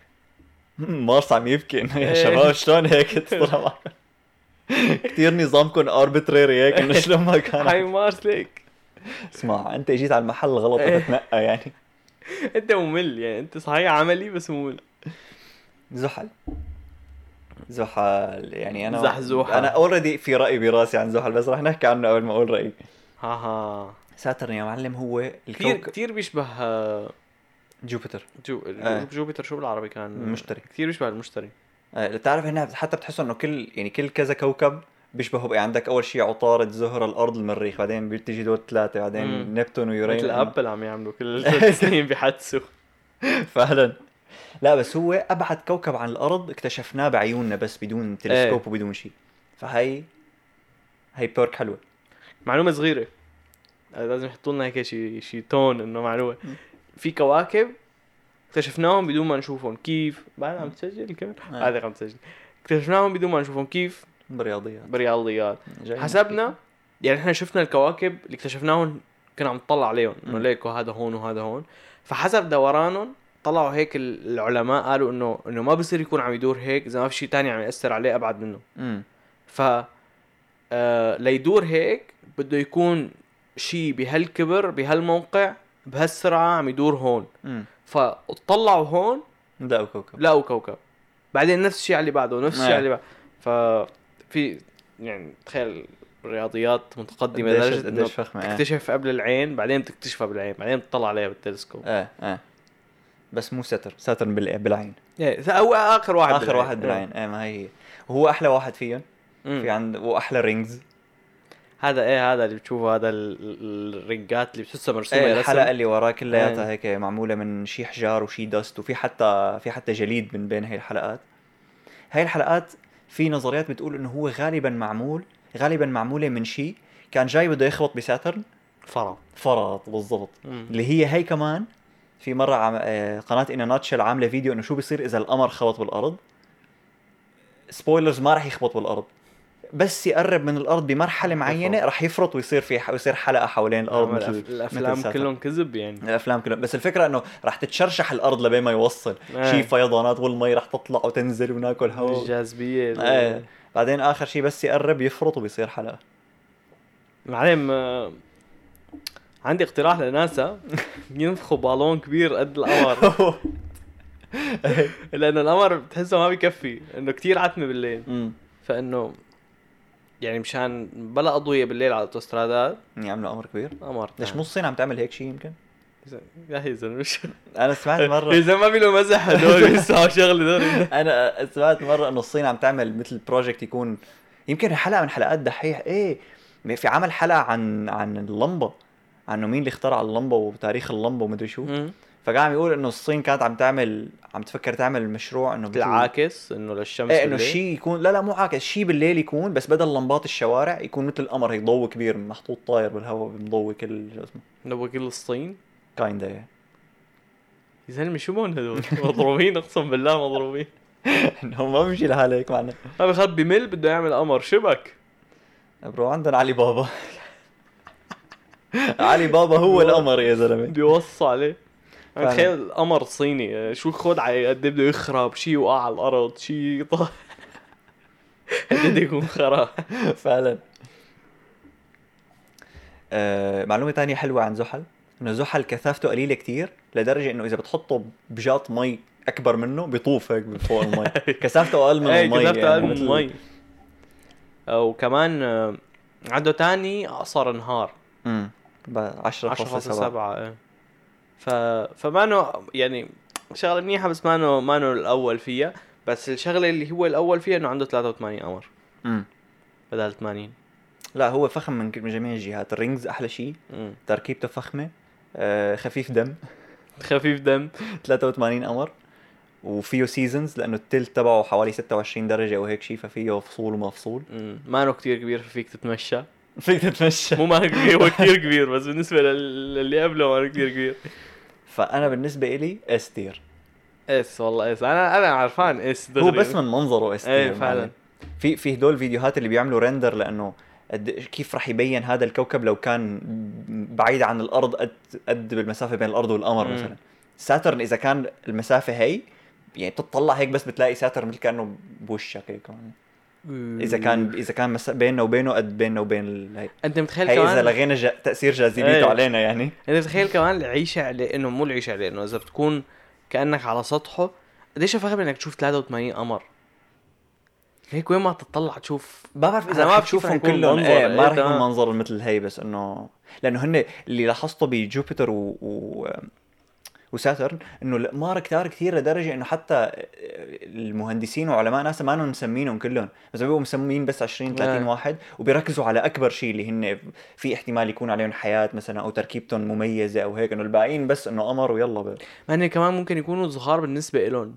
مم، مارس عم يبكي إنه يا إيه. شباب شلون هيك طلع معكم كثير نظامكم اربتريري هيك إيه. انه شلون ما هاي كان مارس ليك اسمع انت جيت على المحل الغلط إيه. تتنقى يعني انت ممل يعني انت صحيح عملي بس ممل زحل زحل يعني انا زحزوحة. انا اوريدي في راي براسي عن زحل بس رح نحكي عنه قبل ما اقول رايي ها ها ساترن يا معلم هو كثير الكوكب كثير بيشبه آه، جوبيتر جو... إيه. جوبيتر شو بالعربي كان المشتري. كثير بيشبه المشتري آه، بتعرف هنا حتى بتحس انه كل يعني كل كذا كوكب بيشبهوا بقى عندك اول شيء عطارد زهره الارض المريخ بعدين بتيجي دول ثلاثه بعدين مم. نبتون ويورين مثل ابل عم يعملوا كل ثلاث سنين بيحدثوا فعلا لا بس هو ابعد كوكب عن الارض اكتشفناه بعيوننا بس إيه. بدون تلسكوب وبدون شيء فهي هي بيرك حلوه معلومه صغيره لازم يحطوا لنا هيك شيء شيء تون انه معلومه في كواكب اكتشفناهم بدون ما نشوفهم كيف بعد عم تسجل كمان آه. هذا عم تسجل اكتشفناهم بدون ما نشوفهم كيف بالرياضيات برياضيات جاي حسبنا يعني احنا شفنا الكواكب اللي اكتشفناهم كنا عم نطلع عليهم مم. انه ليكو هذا هون وهذا هون فحسب دورانهم طلعوا هيك ال- العلماء قالوا انه انه ما بصير يكون عم يدور هيك اذا ما في شيء ثاني عم ياثر عليه ابعد منه امم ف آه، ليدور هيك بده يكون شيء بهالكبر بهالموقع بهالسرعه عم يدور هون امم فطلعوا هون لا كوكب لقوا كوكب بعدين نفس الشيء على اللي بعده نفس الشيء إيه. على اللي بعده ففي يعني تخيل رياضيات متقدمه قديش- لدرجه انه قديش فخمة، إيه. تكتشف قبل العين بعدين بتكتشفها بالعين بعدين بتطلع عليها بالتلسكوب ايه ايه بس مو ساتر ساترن بالع- بالعين ايه هو اخر واحد إيه. اخر واحد بالعين ايه ما هي هي وهو احلى واحد فيهم مم. في عند واحلى رينجز هذا ايه هذا اللي بتشوفه هذا ال- ال- الرنجات اللي بتحسها مرسومه ايه رسم. الحلقه اللي وراه كلياتها إيه. هيك معموله من شي حجار وشي دست وفي حتى في حتى جليد من بين هي الحلقات هاي الحلقات في نظريات بتقول انه هو غالبا معمول غالبا معموله من شي كان جاي بده يخبط بساترن فرع فرط بالضبط مم. اللي هي هي كمان في مره عم... آه، قناه ان ناتشل عامله فيديو انه شو بيصير اذا القمر خبط بالارض سبويلرز ما رح يخبط بالارض بس يقرب من الارض بمرحله معينه رح يفرط ويصير في ح... ويصير حلقه حوالين الارض عمل مثل الأف- الافلام مثل كلهم كذب يعني الافلام كلهم بس الفكره انه رح تتشرشح الارض لبين ما يوصل إيه. شي فيضانات والمي رح تطلع وتنزل وناكل هواء الجاذبيه ال- ايه بعدين اخر شي بس يقرب يفرط وبيصير حلقه معلم آه، عندي اقتراح لناسا ينفخوا بالون كبير قد القمر لانه القمر بتحسه ما بيكفي انه كتير عتمه بالليل أمم. فانه يعني مشان بلا اضويه بالليل على الاوتوسترادات يعملوا امر كبير قمر ليش مو الصين عم تعمل هيك شيء يمكن؟ يا هي زلمه مش انا سمعت يا مره زلمه ما في له مزح هدول بيسمعوا شغله هدول انا سمعت مره انه الصين عم تعمل مثل بروجكت يكون يمكن حلقه من حلقات دحيح ايه في عمل حلقه عن عن اللمبه عنه مين اللي اخترع اللمبه وتاريخ اللمبه ومدري شو مم. فقام عم يقول انه الصين كانت عم تعمل عم تفكر تعمل مشروع انه مثل- العاكس انه للشمس ايه انه بالليل. شيء يكون لا لا مو عاكس شيء بالليل يكون بس بدل لمبات الشوارع يكون مثل القمر هيك ضوء كبير محطوط طاير بالهواء مضوي كل شو اسمه نبغى كل الصين كايندا يا زلمه شو بهم هدول مضروبين اقسم بالله مضروبين انه ما بمشي لحاله هيك معنا ما بخرب بمل بده يعمل قمر شبك برو عندنا علي بابا علي بابا هو القمر يا زلمه بده يوصي عليه فعلا. يعني تخيل قمر صيني آه، شو خدعه قد إيه بده يخرب شيء يوقع على الارض شيء يطلع قد إيه بده يكون خراب فعلا آه معلومه تانية حلوه عن زحل انه زحل كثافته قليله كتير لدرجه انه اذا بتحطه بجاط مي اكبر منه بيطوف هيك فوق المي كثافته اقل من المي ايه كذبت يعني اقل من مثل- المي وكمان آه، عنده تاني اقصر نهار امم 10.7 10.7 إيه. ف فمانو يعني شغله منيحه بس مانو مانو الاول فيها بس الشغله اللي هو الاول فيها انه عنده 83 قمر امم بدل 80 لا هو فخم من من جميع الجهات الرينجز احلى شيء مم. تركيبته فخمه آه خفيف دم خفيف دم 83 قمر وفيه سيزونز لانه التلت تبعه حوالي 26 درجه او هيك شيء ففيه فصول وما فصول مم. مانو كتير كبير فيك تتمشى فيك تتمشى مو مانو كبير هو كتير كبير بس بالنسبه لل- للي قبله مانو كتير كبير فانا بالنسبه الي اس تير اس والله اس انا انا عارفان اس هو دغري. بس من منظره اس تير إيه، فعلا. معلم. في في هدول الفيديوهات اللي بيعملوا ريندر لانه قد كيف رح يبين هذا الكوكب لو كان بعيد عن الارض قد قد بالمسافه بين الارض والقمر مم. مثلا ساترن اذا كان المسافه هي يعني بتطلع هيك بس بتلاقي ساترن مثل كانه بوشك هيك يعني. اذا كان اذا كان مس... بيننا وبينه قد بيننا وبين ال... هي. انت متخيل هي كمان اذا لغينا جا... تاثير جاذبيته إيه. علينا يعني انت تخيل كمان العيشه عليه انه مو العيشه عليه انه اذا بتكون كانك على سطحه قديش فخم انك تشوف 83 قمر هيك وين ما تطلع تشوف ما بعرف أنا اذا ما ما بشوف رح بشوفهم يكون كلهم منظر، ايه إيه، ما رح يكون تمام. منظر مثل هي بس انه لانه هن اللي لاحظته بجوبيتر و... و... وساترن انه الاقمار كتار كثير لدرجه انه حتى المهندسين وعلماء ناسا ما نون مسمينهم كلهم بس بيبقوا مسمين بس 20 30 إيه. واحد وبيركزوا على اكبر شيء اللي هن في احتمال يكون عليهم حياه مثلا او تركيبتهم مميزه او هيك انه الباقيين بس انه قمر ويلا ب... ما هن كمان ممكن يكونوا صغار بالنسبه إلهم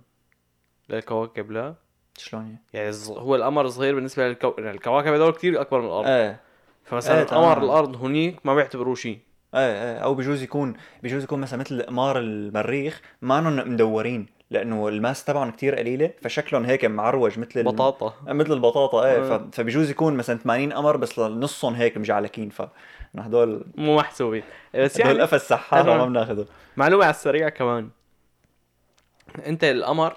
للكواكب لا شلون يعني؟ يعني الز- هو القمر صغير بالنسبه للكو... يعني الكواكب هذول كتير اكبر من الارض ايه فمثلا إيه، تمام. قمر الارض هنيك ما بيعتبروه شيء ايه ايه او بجوز يكون بجوز يكون مثلا مثل اقمار المريخ مانن مدورين لانه الماس تبعهم كتير قليله فشكلهم هيك معروج مثل الم- بطاطا مثل البطاطا ايه آه. ف- فبجوز يكون مثلا 80 قمر بس نصهم هيك مجعلكين ف إنه هدول مو محسوبين بس هدول يعني قفص سحاره ما هدول- بناخده معلومة على السريع كمان انت القمر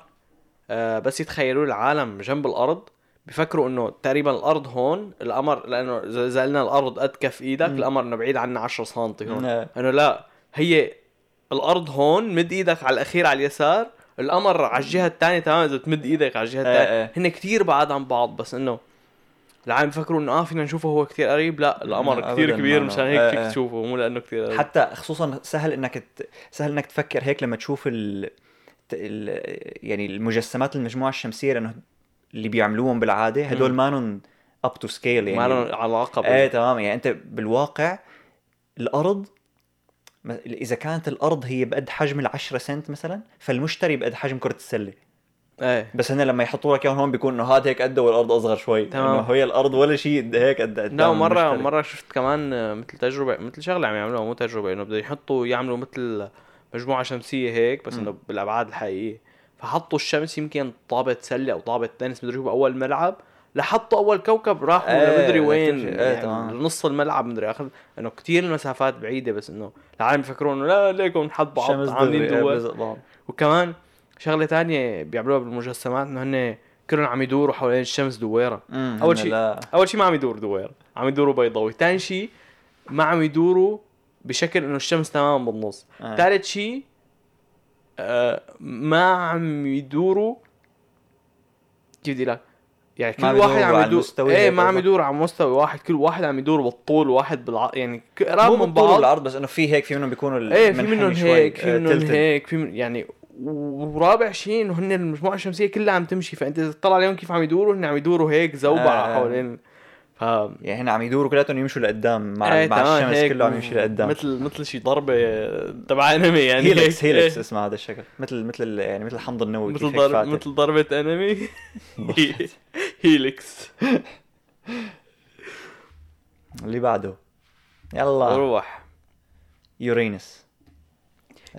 آه، بس يتخيلوا العالم جنب الارض بفكروا انه تقريبا الارض هون القمر لانه اذا إذا قلنا الارض قد كف ايدك مم. القمر انه بعيد عنا 10 سم هون إيه. انه لا هي الارض هون مد ايدك على الاخير على اليسار القمر على الجهه الثانيه تمام اذا بتمد ايدك على الجهه إيه الثانيه إيه. هن كتير بعاد عن بعض بس انه العالم فكروا انه اه فينا نشوفه هو كتير قريب لا لا، القمر كتير أبداً كبير ما- مشان إيه هيك إيه. فيك تشوفه مو لانه كتير قريب حتى خصوصا سهل انك ت... سهل انك تفكر هيك لما تشوف ال... ت- ال... يعني المجسمات المجموعه الشمسيه لانه اللي بيعملوهم بالعاده هدول مم. مانن اب تو سكيل يعني ما لهم علاقه بال- ايه تمام يعني انت بالواقع الارض م- اذا كانت الارض هي بقد حجم ال10 سنت مثلا فالمشتري بقد حجم كره السله ايه بس هنا لما يحطوا لك اياهم هون بيكون انه هذا هيك قده والارض اصغر شوي تمام. انه هي الارض ولا شيء قد هيك قد قدام لا مره المشتري. مره شفت كمان آه، مثل تجربه مثل شغله عم يعملوها مو تجربه انه بده يحطوا يعملوا مثل مجموعه شمسيه هيك بس مم. انه بالابعاد الحقيقيه فحطوا الشمس يمكن طابه سله او طابه تنس مدري شو باول ملعب لحطوا اول كوكب راحوا إيه، مدري لكل وين شيء. إيه، يعني تمام. نص الملعب مدري اخر انه كتير المسافات بعيده بس انه العالم يفكرون انه لا ليكم حط بعض الشمس عاملين دغري، إيه، دول بلزق بعض. وكمان شغله تانية بيعملوها بالمجسمات انه هن كلهم عم يدوروا حوالين الشمس دويره مم، أول هن شيء- لا. اول شيء ما عم يدور دوير عم يدوروا بيضاوي ثاني شيء ما عم يدوروا بشكل انه الشمس تماما بالنص آه. ثالث شيء آه ما عم يدوروا كيف بدي لك يعني كل ما عم يدوروا واحد عم على يدور المستوى ايه هيك ما عم قصدك. يدور على مستوى واحد كل واحد عم يدور بالطول واحد بالع... يعني قراب مو من بالطول بعض العرض بس انه في هيك في منهم بيكونوا ال- ايه في منحني منهم شوي، هيك آه، في منهم tilted. هيك في من... يعني ورابع شيء انه هن المجموعه الشمسيه كلها عم تمشي فانت إذا تطلع عليهم كيف عم يدوروا هن عم يدوروا هيك زوبعه آه. حوالين ف يعني هن عم يدوروا كلياتهم يمشوا لقدام مع إيه، مع تمام، الشمس هيك كله عم يمشي لقدام مثل مثل شي ضربه تبع انمي يعني هيلكس هيك. هيلكس إيه، اسمه هذا الشكل مثل مثل ال- يعني مثل الحمض النووي كيف مثل هيك ضرب فاتح. مثل ضربه انمي هيلكس اللي بعده يلا روح يورينس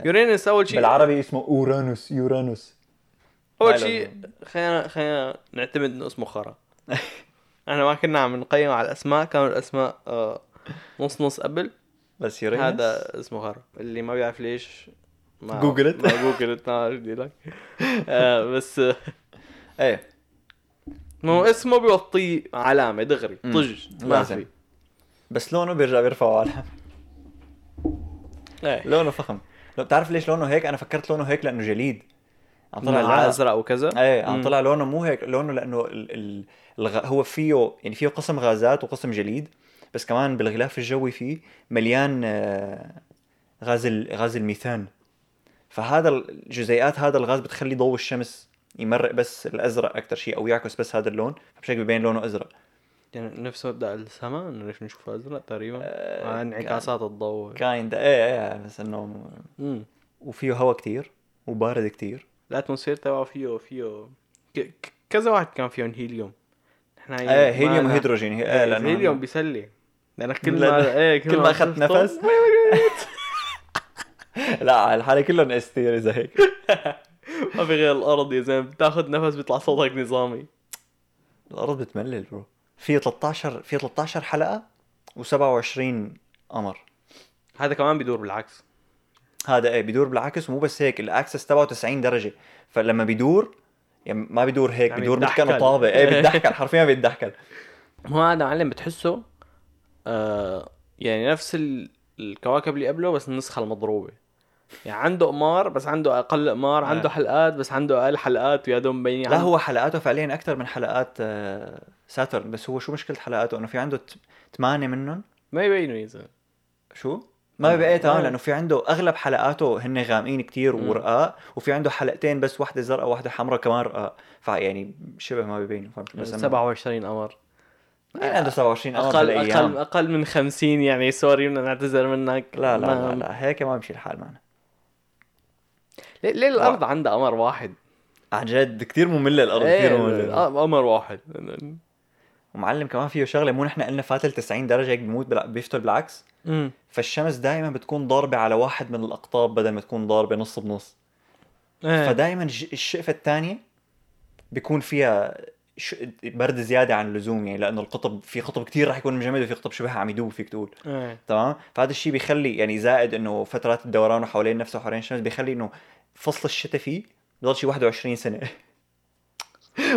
يورينس اول شيء بالعربي اسمه اورانوس يورانوس اول ما شيء لازم. خلينا خلينا نعتمد انه اسمه خرا احنا ما كنا عم نقيم على الاسماء كانوا الاسماء آه، نص نص قبل بس يورينس هذا اسمه خرا اللي ما بيعرف ليش ما جوجلت. ما جوجلت ما بدي لك آه، بس آه، ايه ما هو اسمه بيوطي علامه دغري مم. طج ما لازم. في بس لونه بيرجع بيرفعه على إيه. لونه فخم لو بتعرف ليش لونه هيك انا فكرت لونه هيك لانه جليد عم طلع مع العرق. ازرق وكذا ايه عم مم. طلع لونه مو هيك لونه لانه ال... ال... الغ... هو فيه يعني فيه قسم غازات وقسم جليد بس كمان بالغلاف الجوي فيه مليان آه، غاز ال... غاز الميثان فهذا ال- جزيئات هذا الغاز بتخلي ضوء الشمس يمرق بس الازرق اكثر شيء او يعكس بس هذا اللون فبشكل ببين لونه ازرق يعني نفس مبدا السماء انه ليش نشوفه ازرق تقريبا آه، مع انعكاسات الضوء كايند ايه ايه بس انه مم. وفيه هواء كتير وبارد كتير الاتموسفير تبعه فيه فيه ك- ك- كذا واحد كان فيهم هيليوم نحن هي- ايه هيليوم إيه، ما- وهيدروجين هي- ايه ايه لانه الهيليوم بيسلي لانك كل لأن- ما ايه كل ما أخذت شفته- نفس. لا على الحالة كلهم استير اذا هيك ما في غير الارض يا زلمه بتاخذ نفس بيطلع صوتك نظامي الارض بتملل برو في 13 في 13 حلقه و27 قمر هذا كمان بيدور بالعكس هذا ايه بيدور بالعكس ومو بس هيك الاكسس تبعه 90 درجه فلما بيدور يعني ما بيدور هيك يعني بيدور مثل بيتدحكل. كانه طابه ايه بيتدحكل حرفيا بيتدحكل هو هذا معلم بتحسه آه يعني نفس ال- الكواكب اللي قبله بس النسخه المضروبه يعني عنده قمار بس عنده اقل قمار عنده آه. حلقات بس عنده اقل حلقات ويا دوب مبين لا هو حلقاته فعليا اكثر من حلقات آه، ساترن بس هو شو مشكله حلقاته انه في عنده ثمانيه منهم ما يبينوا يا زلمه شو؟ ما بقيت آه. تمام لانه في عنده اغلب حلقاته هن غامقين كتير مم. ورقاق وفي عنده حلقتين بس واحده زرقاء وواحده حمراء كمان رقاق فيعني شبه ما بيبينوا فهمت بس إنه- 27 قمر مين آه، عنده 27 قمر اقل اقل بالايام اقل من 50 يعني سوري بدنا نعتذر منك لا لا ما- لا, لا هيك ما بيمشي الحال معنا ليه, ليه الارض عندها قمر واحد؟ عن جد كثير ممله الارض كثير ممله آه، قمر واحد ومعلم كمان فيه شغله مو نحن قلنا فاتل 90 درجه هيك بيموت بلا- بيفتل بالعكس امم فالشمس دائما بتكون ضاربه على واحد من الاقطاب بدل ما تكون ضاربه نص بنص إيه. فدائما الشقفه الثانيه بيكون فيها ش- برد زياده عن اللزوم يعني لانه القطب في قطب كتير راح يكون مجمد وفي قطب شبه عم يدوب فيك تقول إيه. تمام فهذا الشيء بيخلي يعني زائد انه فترات الدوران وحوالين نفسه وحوالين الشمس بيخلي انه فصل الشتاء فيه بضل شي 21 سنه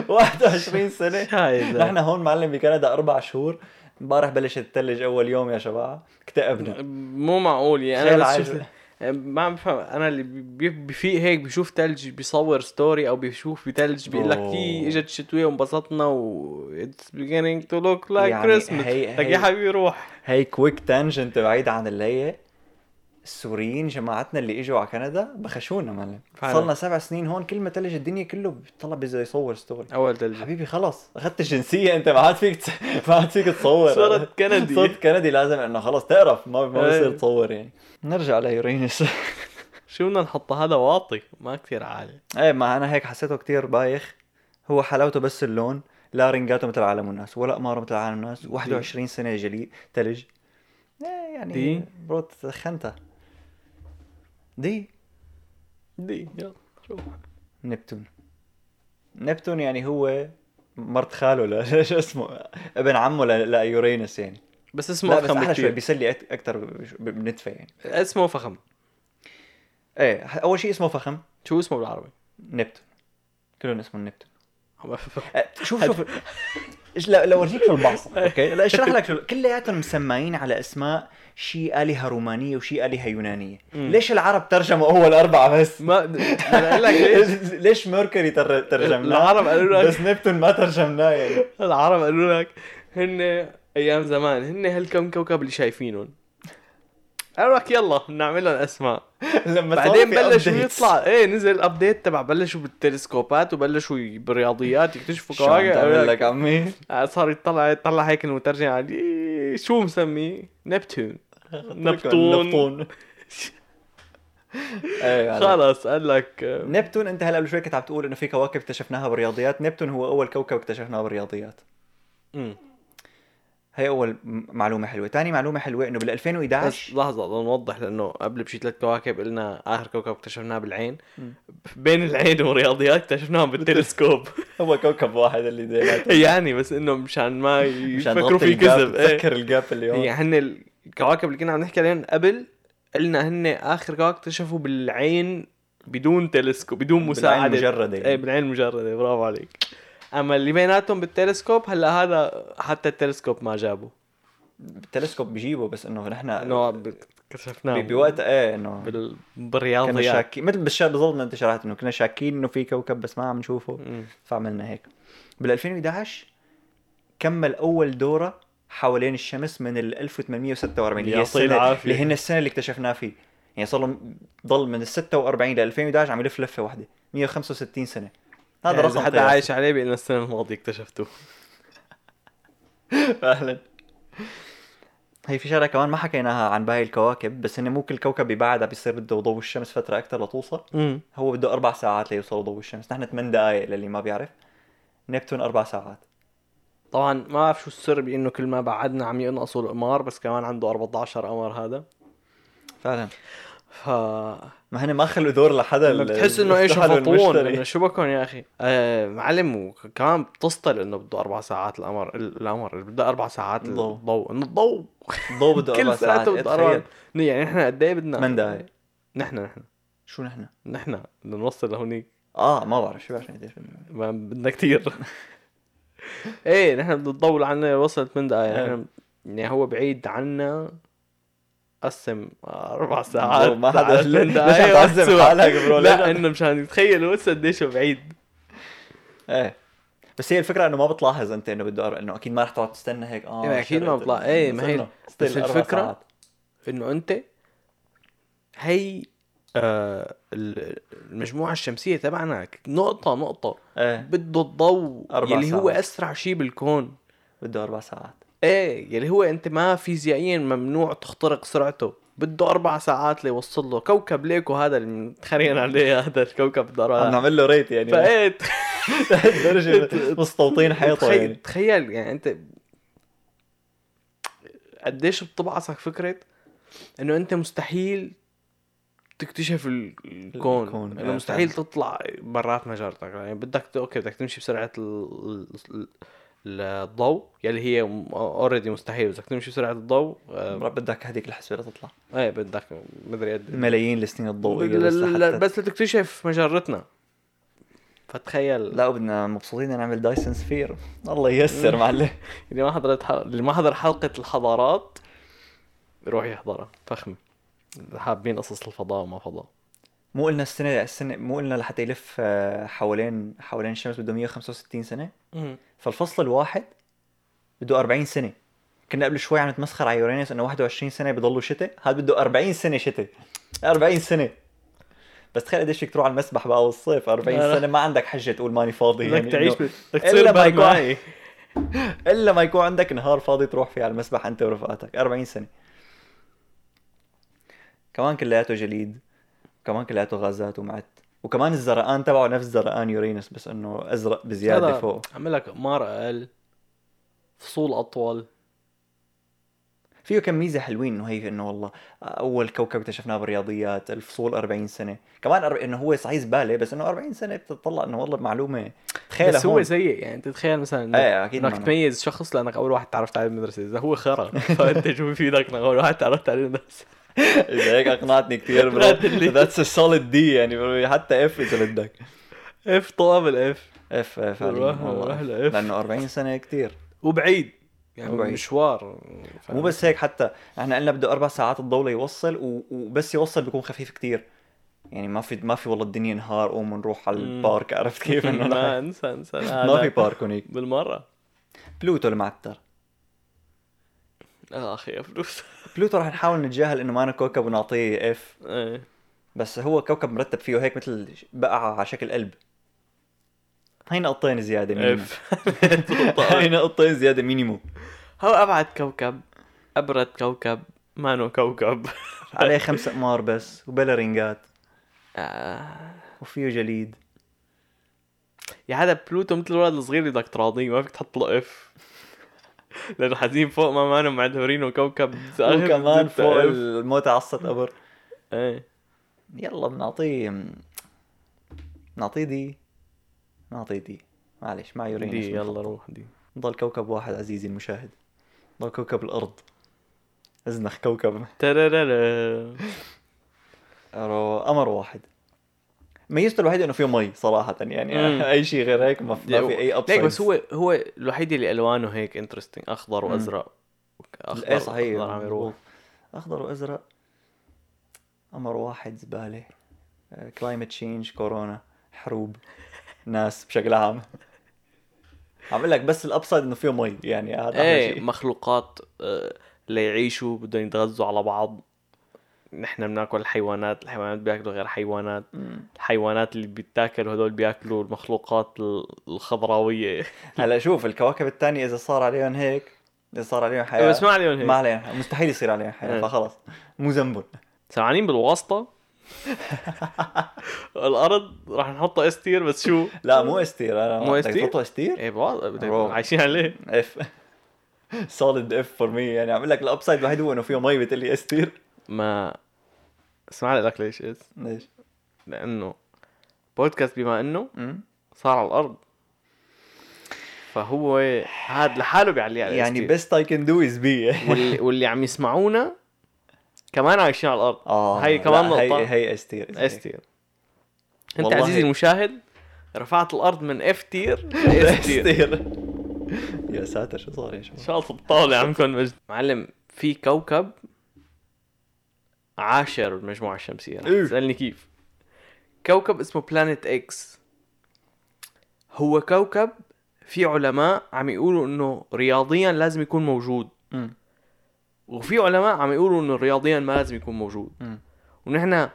21 سنه نحن شايزة هون معلم بكندا اربع شهور امبارح بلشت الثلج اول يوم يا شباب اكتئبنا مو معقول يعني تخيل انا بس عايز- شفت ما عم بفهم انا اللي بي- بفيق هيك بشوف تلج بيصور ستوري او بيشوف بتلج بيقول لك أوه. يي اجت الشتويه وانبسطنا و اتس beginning to look like يعني Christmas هي- لك هي- يا حبيبي روح هي كويك تانجنت بعيد عن اللي هي السوريين جماعتنا اللي اجوا على كندا بخشونا معلم فعلا. صلنا سبع سنين هون كل ما تلج الدنيا كله بيطلع بيزا يصور ستوري اول تلج حبيبي خلص اخذت الجنسيه انت ما عاد فيك تس- ما عاد فيك تصور صرت كندي. صرت كندي لازم انه خلص تعرف ما ما إيه. بصير تصور يعني نرجع ليورينس شو بدنا نحطه هذا واطي ما كثير عالي ايه ما انا هيك حسيته كتير بايخ هو حلاوته بس اللون لا رنجاته مثل عالم الناس ولا قماره مثل عالم الناس 21 سنه جلي ثلج ايه يعني دي. برو تخنتها دي دي يلا شوف نبتون نبتون يعني هو مرت خاله لا شو اسمه ابن عمه ل- ليورينس يعني بس اسمه لا بس افخم احلى شوي بكثير بيسلي اكثر بنتفه يعني اسمه فخم ايه ح- اول شيء اسمه فخم شو اسمه بالعربي؟ نبتون كلهم اسمهم نبتون أه، شوف شوف إيش- لا لو اورجيك شو البعصه اوكي لا اشرح لك شو كلياتهم مسمعين على اسماء شيء الهه رومانيه وشيء الهه يونانيه مم. ليش العرب ترجموا اول اربعه بس ما انا اقول لك ليش ليش ميركوري تر- ترجمناه العرب قالوا لك بس نبتون ما ترجمناه يعني العرب قالوا لك هن ايام زمان هن هالكم كوكب اللي شايفينهم قالوا لك يلا بنعمل لهم اسماء لما صار بعدين في بلشوا updates. يطلع ايه نزل الابديت تبع بلشوا بالتلسكوبات وبلشوا بالرياضيات يكتشفوا شو عم كواكب قالوا تعمل لك لك آه، عمي صار يطلع يطلع هيك المترجم على إيه، شو مسميه نبتون نبتون. نبتون ايه عليك. خلص قال لك آه، نبتون انت هلا قبل شوي كنت عم تقول انه في كواكب اكتشفناها بالرياضيات نبتون هو اول كوكب اكتشفناه بالرياضيات أمم. هي اول م- معلومه حلوه تاني معلومه حلوه انه بال بس 2011 لحظة بدنا نوضح لأنه قبل بشي ثلاث كواكب قلنا آخر كوكب اكتشفناه بالعين مم. بين العين والرياضيات اكتشفناهم بالتلسكوب هو كوكب واحد اللي دايما يعني بس إنه مشان ما مشان يفكروا في كذب إيه. تذكر الجاب اليوم يعني هن الكواكب اللي كنا عم نحكي عليهم قبل قلنا هن آخر كواكب اكتشفوا بالعين بدون تلسكوب بدون مساعدة مجرده ايه يعني. بالعين المجردة برافو عليك أما اللي بيناتهم بالتلسكوب هلا هذا حتى التلسكوب ما جابه التلسكوب بجيبه بس انه نحن إنه ب- اكتشفناه بوقت ايه انه بال... كنا بالرياضيات شاكين مثل بالشاب بالضبط ما انت شرحت انه كنا شاكين انه في كوكب بس ما عم نشوفه مم. فعملنا هيك بال 2011 كمل اول دوره حوالين الشمس من ال 1846 اللي هي يعطيه السنه العافية. اللي هن السنه اللي اكتشفناه فيه يعني صار له ضل من ال 46 ل 2011 عم يلف لفه واحده 165 سنه هذا يعني رقم طيب. إذا حدا عايش عليه بأن السنة الماضية اكتشفته فعلا هي في شغله كمان ما حكيناها عن باقي الكواكب بس انه مو كل كوكب ببعدها بيصير بده ضوء الشمس فتره اكثر لتوصل امم هو بده اربع ساعات ليوصل ضوء الشمس نحن 8 دقائق للي ما بيعرف نبتون اربع ساعات طبعا ما بعرف شو السر بانه كل ما بعدنا عم ينقصوا القمار بس كمان عنده 14 قمر هذا فعلا ف ما هن ما خلوا دور لحدا لما ال- بتحس انه ايش استحلوا شفطون المشتري. انه شو بكون يا اخي آه معلم وكمان بتسطل انه بده اربع ساعات القمر ال- القمر بده اربع ساعات الضوء. الضوء انه الضوء ضوء بده اربع كل ساعات ساعته بده اربع تخيل يعني احنا قد ايه بدنا ثمان دقائق نحن نحن شو نحن؟ نحن بدنا نوصل لهونيك اه ما بعرف شو بعرف قديش بدنا. ما بدنا كتير ايه نحن بدنا نطول عنا وصل 8 دقائق إيه. نحن يعني هو بعيد عنا قسم اربع ساعات برو، ما حدا على 8 ليش عم تعذب واحسبها. حالك برو ليش لا عم- انه مشان يتخيلوا بس قديش هو بعيد ايه بس هي الفكره انه ما بتلاحظ انت انه بده أر- انه اكيد ما رح تقعد تستنى هيك اه إيه، أكيد ما شرقت. بطلع. إيه، ما بس هي- إنه still أربع الفكرة- ساعات. انه انت هي آه ال- المجموعه الشمسيه تبعنا نقطه نقطه ايه بده الضوء أربع يلي هو ساعات. اسرع شيء بالكون بده اربع ساعات ايه يلي هو انت ما فيزيائيا ممنوع تخترق سرعته بده اربع ساعات ليوصل له كوكب ليكو هذا اللي متخرين عليه هذا الكوكب بده عم اربع نعمل له ريت يعني فايه لدرجه مستوطين حيطه تخيل يعني تخيل يعني انت قديش بتبعصك فكره انه انت مستحيل تكتشف ال- الكون, الكون، الكون. انه آه، مستحيل تطلع برات مجرتك يعني بدك ت- اوكي بدك تمشي بسرعه ال... ال- ال- الضوء يلي هي اوريدي مستحيل بدك تمشي بسرعه الضوء آه، رب بدك هذيك الحسبه لتطلع ايه بدك مدري قد إيه. ملايين السنين الضوئيه لا- بس لا- لا، لحتى بس لتكتشف مجرتنا فتخيل لا بدنا مبسوطين نعمل دايسون سفير الله ييسر معلم اللي ما حضرت حل... اللي ما حضر حلقة الحضارات روح يحضرها فخمة حابين قصص الفضاء وما فضاء مو قلنا السنه السنه مو قلنا لحتى يلف آه، حوالين حوالين الشمس بده 165 سنه فالفصل الواحد بده 40 سنه كنا قبل شوي عم نتمسخر على يورانيس انه 21 سنه بضلوا شتاء هذا بده 40 سنه شتاء 40 سنه بس تخيل قديش فيك تروح على المسبح بقى والصيف 40 لا. سنه ما عندك حجه تقول ماني فاضي بدك يعني إنه- تعيش ب- بدك إلا تصير ما يكون- برمائي الا ما يكون عندك نهار فاضي تروح فيه على المسبح انت ورفقاتك 40 سنه كمان كلياته جليد كمان كلياته غازات ومعت وكمان الزرقان تبعه نفس زرقان يورينس بس انه ازرق بزياده هذا فوق عمل لك قمار اقل فصول اطول فيه كم ميزه حلوين انه هي انه والله اول كوكب اكتشفناه بالرياضيات الفصول 40 سنه كمان أرب... انه هو صحيح زباله بس انه 40 سنه بتطلع انه والله معلومه تخيل بس هو هون سيء يعني انت تخيل مثلا إنه- ايه اكيد انك معنا. تميز شخص لانك اول واحد تعرفت عليه بالمدرسه اذا هو خرا فانت شو بفيدك انك اول واحد تعرفت عليه بالمدرسه اذا هيك اقنعتني كثير برو اللي- ذاتس سوليد دي يعني برو حتى اف اذا بدك اف طوابل اف اف اف علي، الواحد- والله الواحد إف. إف. لانه 40 سنه كثير وبعيد يعني وبعيد. مشوار ف- مو بس هيك حتى احنا قلنا بده اربع ساعات الضوله يوصل و... وبس يوصل بيكون خفيف كتير يعني ما في ما في والله الدنيا نهار قوم نروح على مم. البارك عرفت كيف ما انه نحن- انسى انسى ما هذا في بارك هونيك بالمره بلوتو المعتر آه، اخي يا فلوس بلوتو رح نحاول نتجاهل انه معنا كوكب ونعطيه اف إيه. بس هو كوكب مرتب فيه هيك مثل بقعة على شكل قلب هاي نقطتين زيادة مينيموم اف هاي نقطتين زيادة مينيموم هو ابعد كوكب ابرد كوكب مانو كوكب عليه طيب. خمس أقمار بس وبلا رينجات آه. وفيه جليد يا هذا بلوتو مثل الولد الصغير اللي بدك تراضيه ما فيك تحط له اف لانه حاطين فوق ما مانو معتبرينه كوكب آخر وكمان زدت فوق F. الموت على السطح قبر ايه يلا بنعطيه نعطيه دي نعطيه دي معليش مع يورينوس دي يلا بنحط. روح دي ضل كوكب واحد عزيزي المشاهد ضل كوكب الأرض أزنخ كوكب ترررر. رو- قمر واحد ميزته الوحيده انه فيه مي صراحه مم. يعني اي شيء غير هيك ما في, ما في اي اب ليك بس هو هو الوحيد اللي الوانه هيك انترستنج اخضر مم. وازرق ايه صحيح اخضر عم يروح اخضر وازرق قمر واحد زباله كلايمت تشينج كورونا حروب ناس بشكل عام عم بقول لك بس الابسط انه فيه مي يعني هذا أحلى ايه شيء. مخلوقات آه، ليعيشوا بدهم يتغذوا على بعض نحن بناكل الحيوانات الحيوانات بياكلوا غير حيوانات مم. الحيوانات اللي بتاكلوا هدول بياكلوا المخلوقات ال- الخضراويه هلا شوف الكواكب الثانيه اذا صار عليهم هيك اذا صار عليهم حياه بس ما عليهم ما إيه، هيك عليهم حياة. مستحيل يصير عليهم حياه إيه. فخلص مو ذنبهم سمعانين بالواسطه الارض راح نحطها استير بس شو لا مو استير انا مو استير؟ تحطوا استير؟ ايه بوا- بدك- برافو. عايشين عليه اف سوليد اف فور مي يعني عم لك الاب سايد الوحيد هو انه فيه مي بتقول لي استير ما اسمع لك ليش إيه؟ ليش؟ لانه بودكاست بما انه أمم. صار على الارض فهو هاد لحاله بيعلي على يعني بس بيست اي كان دو از بي واللي, واللي عم يسمعونا كمان عايشين على الارض اه هي كمان لا، هي نقطة. هي استير اس تير انت والله عزيزي هيك. المشاهد رفعت الارض من اف تير لاس تير استير يا ساتر شو صار يا شباب شاط الطاولة عمكم مجد معلم في كوكب عاشر بالمجموعة الشمسية رح إيه. تسألني كيف كوكب اسمه بلانيت اكس هو كوكب في علماء عم يقولوا انه رياضيا لازم يكون موجود أمم. وفي علماء عم يقولوا انه رياضيا ما لازم يكون موجود أمم. ونحن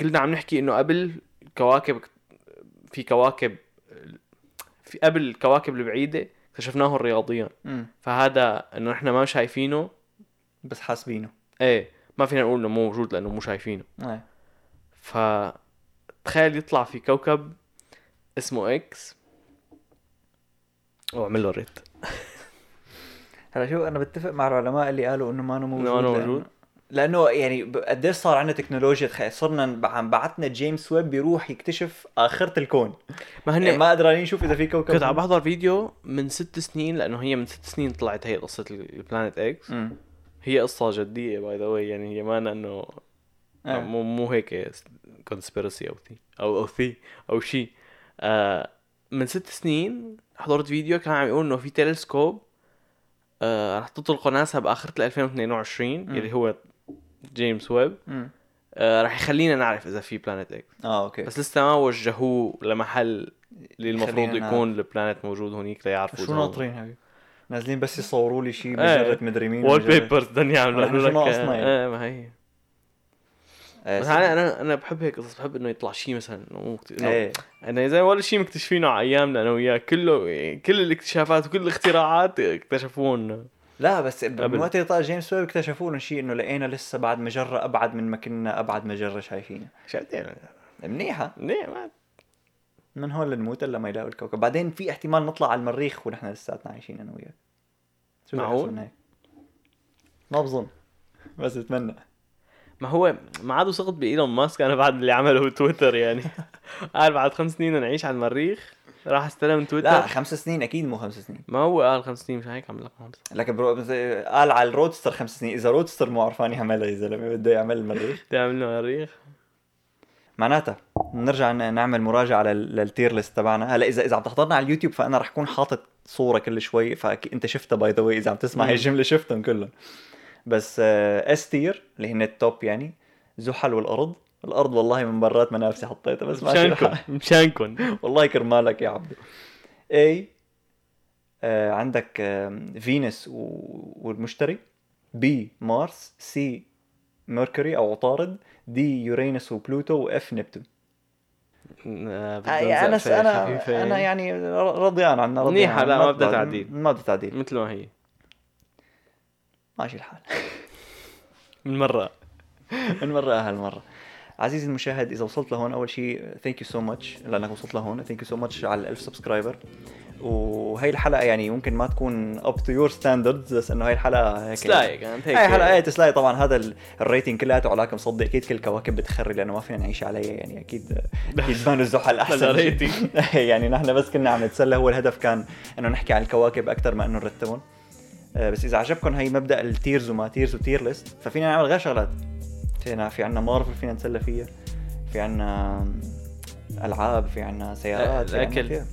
كلنا عم نحكي انه قبل كواكب في كواكب في قبل الكواكب البعيدة اكتشفناهم رياضيا أمم. فهذا انه نحن ما شايفينه بس حاسبينه ايه ما فينا نقول انه مو موجود لانه مو شايفينه إيه. فتخيل يطلع في كوكب اسمه اكس واعمل له ريت هلا شو انا بتفق مع العلماء اللي قالوا انه ما أنا موجود إنه أنا لأنه- موجود. لانه يعني ب- قديش صار عندنا تكنولوجيا تخ- صرنا ب- عم بعتنا جيمس ويب يروح يكتشف اخره الكون ما يعني هن ما قدرانين نشوف اذا في كوكب كنت عم بحضر فيديو من ست سنين لانه هي من ست سنين طلعت هي قصه البلانيت اكس أمم. هي قصه جديه باي ذا واي يعني هي مانا انه إيه. مو مو هيك كونسبيرسي او ثي او او ثي او شيء آه من ست سنين حضرت فيديو كان عم يقول انه في تلسكوب آه رح تطلقه ناسا باخره ال 2022 مم. اللي هو جيمس ويب أمم. آه رح يخلينا نعرف اذا في بلانيت اكس اه اوكي بس لسه ما وجهوه لمحل اللي المفروض خلينا نعرف. يكون البلانيت موجود هونيك ليعرفوا شو ناطرين هبي نازلين بس يصوروا لي شيء إيه. مجرد مدري مين وول مجرد- بيبرز بدهم يعملوا نحن شو يقولوا لك، ناقصنا يعني؟ آه، آه، ما هي إيه، بس انا انا انا بحب هيك قصص بحب انه يطلع شيء مثلا إنه مو كت- إنه ايه انا اذا ولا شيء مكتشفينه على ايامنا انا وياه كله كل الاكتشافات وكل الاختراعات اكتشفوهن لا بس قبل. من وقت اللي طلع جيمس ويب اكتشفوا لنا شيء انه لقينا لسه بعد مجره ابعد من ما كنا ابعد مجره شايفينها شفتين منيحه ليه إيه، ما من هون لنموت الا ما يلاقوا الكوكب بعدين في احتمال نطلع على المريخ ونحن لساتنا عايشين انا وياك شو رح معقول؟ يحصل هيك؟ ما بظن بس اتمنى ما هو ما عاد وثقت بايلون ماسك انا بعد اللي عمله بتويتر يعني قال بعد خمس سنين نعيش على المريخ راح استلم لا تويتر خمس سنين اكيد مو خمس سنين ما هو قال خمس سنين مش هيك عم لك خمسة لكن برو... بس- قال على الرودستر خمس سنين اذا رودستر مو عرفان يعملها يا زلمه بده يعمل المريخ تعمل له مريخ معناتها نرجع ن- نعمل مراجعه لل- للتير ليست تبعنا هلا اذا اذا عم تحضرنا على اليوتيوب فانا رح اكون حاطط صوره كل شوي فانت شفتها باي ذا اذا عم تسمع مم. هي الجمله شفتهم كلهم بس آه، اس تير اللي هن التوب يعني زحل والارض الارض والله من برات منافسي حطيتها بس ماشي رح- مشانكم مشانكم والله كرمالك يا عبدو اي آه عندك فينس والمشتري بي مارس سي ميركوري او عطارد دي يورينس وبلوتو واف نبتون آه، بدنا آه، انا نزقفة انا خفيفة. انا يعني رضيان عنا رضيان منيحة، عنا. لا، ما بدها- بدها تعديل. ما بدها تعديل مثل ما هي ماشي الحال من مره من مره اهل مره عزيزي المشاهد اذا وصلت لهون اول شيء ثانك يو سو ماتش لانك وصلت لهون ثانك يو سو ماتش على ال1000 سبسكرايبر وهي الحلقه يعني ممكن ما تكون اب تو يور ستاندردز بس انه هي الحلقه هيك سلايك كانت هيك هي حلقه ايه تسلاي طبعا هذا ال- الريتنج كلياته علاقه مصدق اكيد كل الكواكب بتخري لانه ما فينا نعيش عليها يعني اكيد اكيد بانوا الزحل بلا احسن ريتنج. يعني نحن بس كنا عم نتسلى هو الهدف كان انه نحكي عن الكواكب اكثر ما انه نرتبهم آه، بس اذا عجبكم هي مبدا التيرز وما تيرز وتير ليست ففينا نعمل غير شغلات فينا في عنا مارفل فينا نتسلى فيها في عنا العاب في عنا سيارات في عنا الأكل. فيها.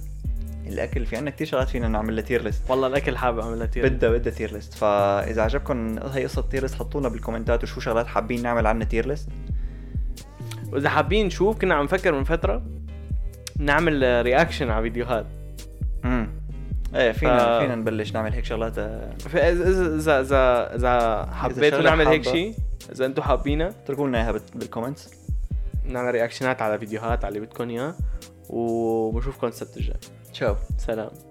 الاكل في عنا كثير شغلات فينا نعمل لها تير ليست والله الاكل حابب اعملها تير بدها بدها تير ليست فاذا عجبكم هي قصه تير ليست حطوا لنا بالكومنتات وشو شغلات حابين نعمل عنها تير ليست واذا حابين نشوف كنا عم نفكر من فتره نعمل رياكشن على فيديوهات امم ايه فينا ف- فينا نبلش نعمل هيك شغلات آه، فاذا اذا اذا اذا حبيتوا شغلة نعمل هيك حابة. شيء اذا انتم حابينه اتركوا لنا اياها بت- بالكومنتس نعمل رياكشنات على فيديوهات على اللي بدكم اياه وبشوفكم السبت الجاي تشاو سلام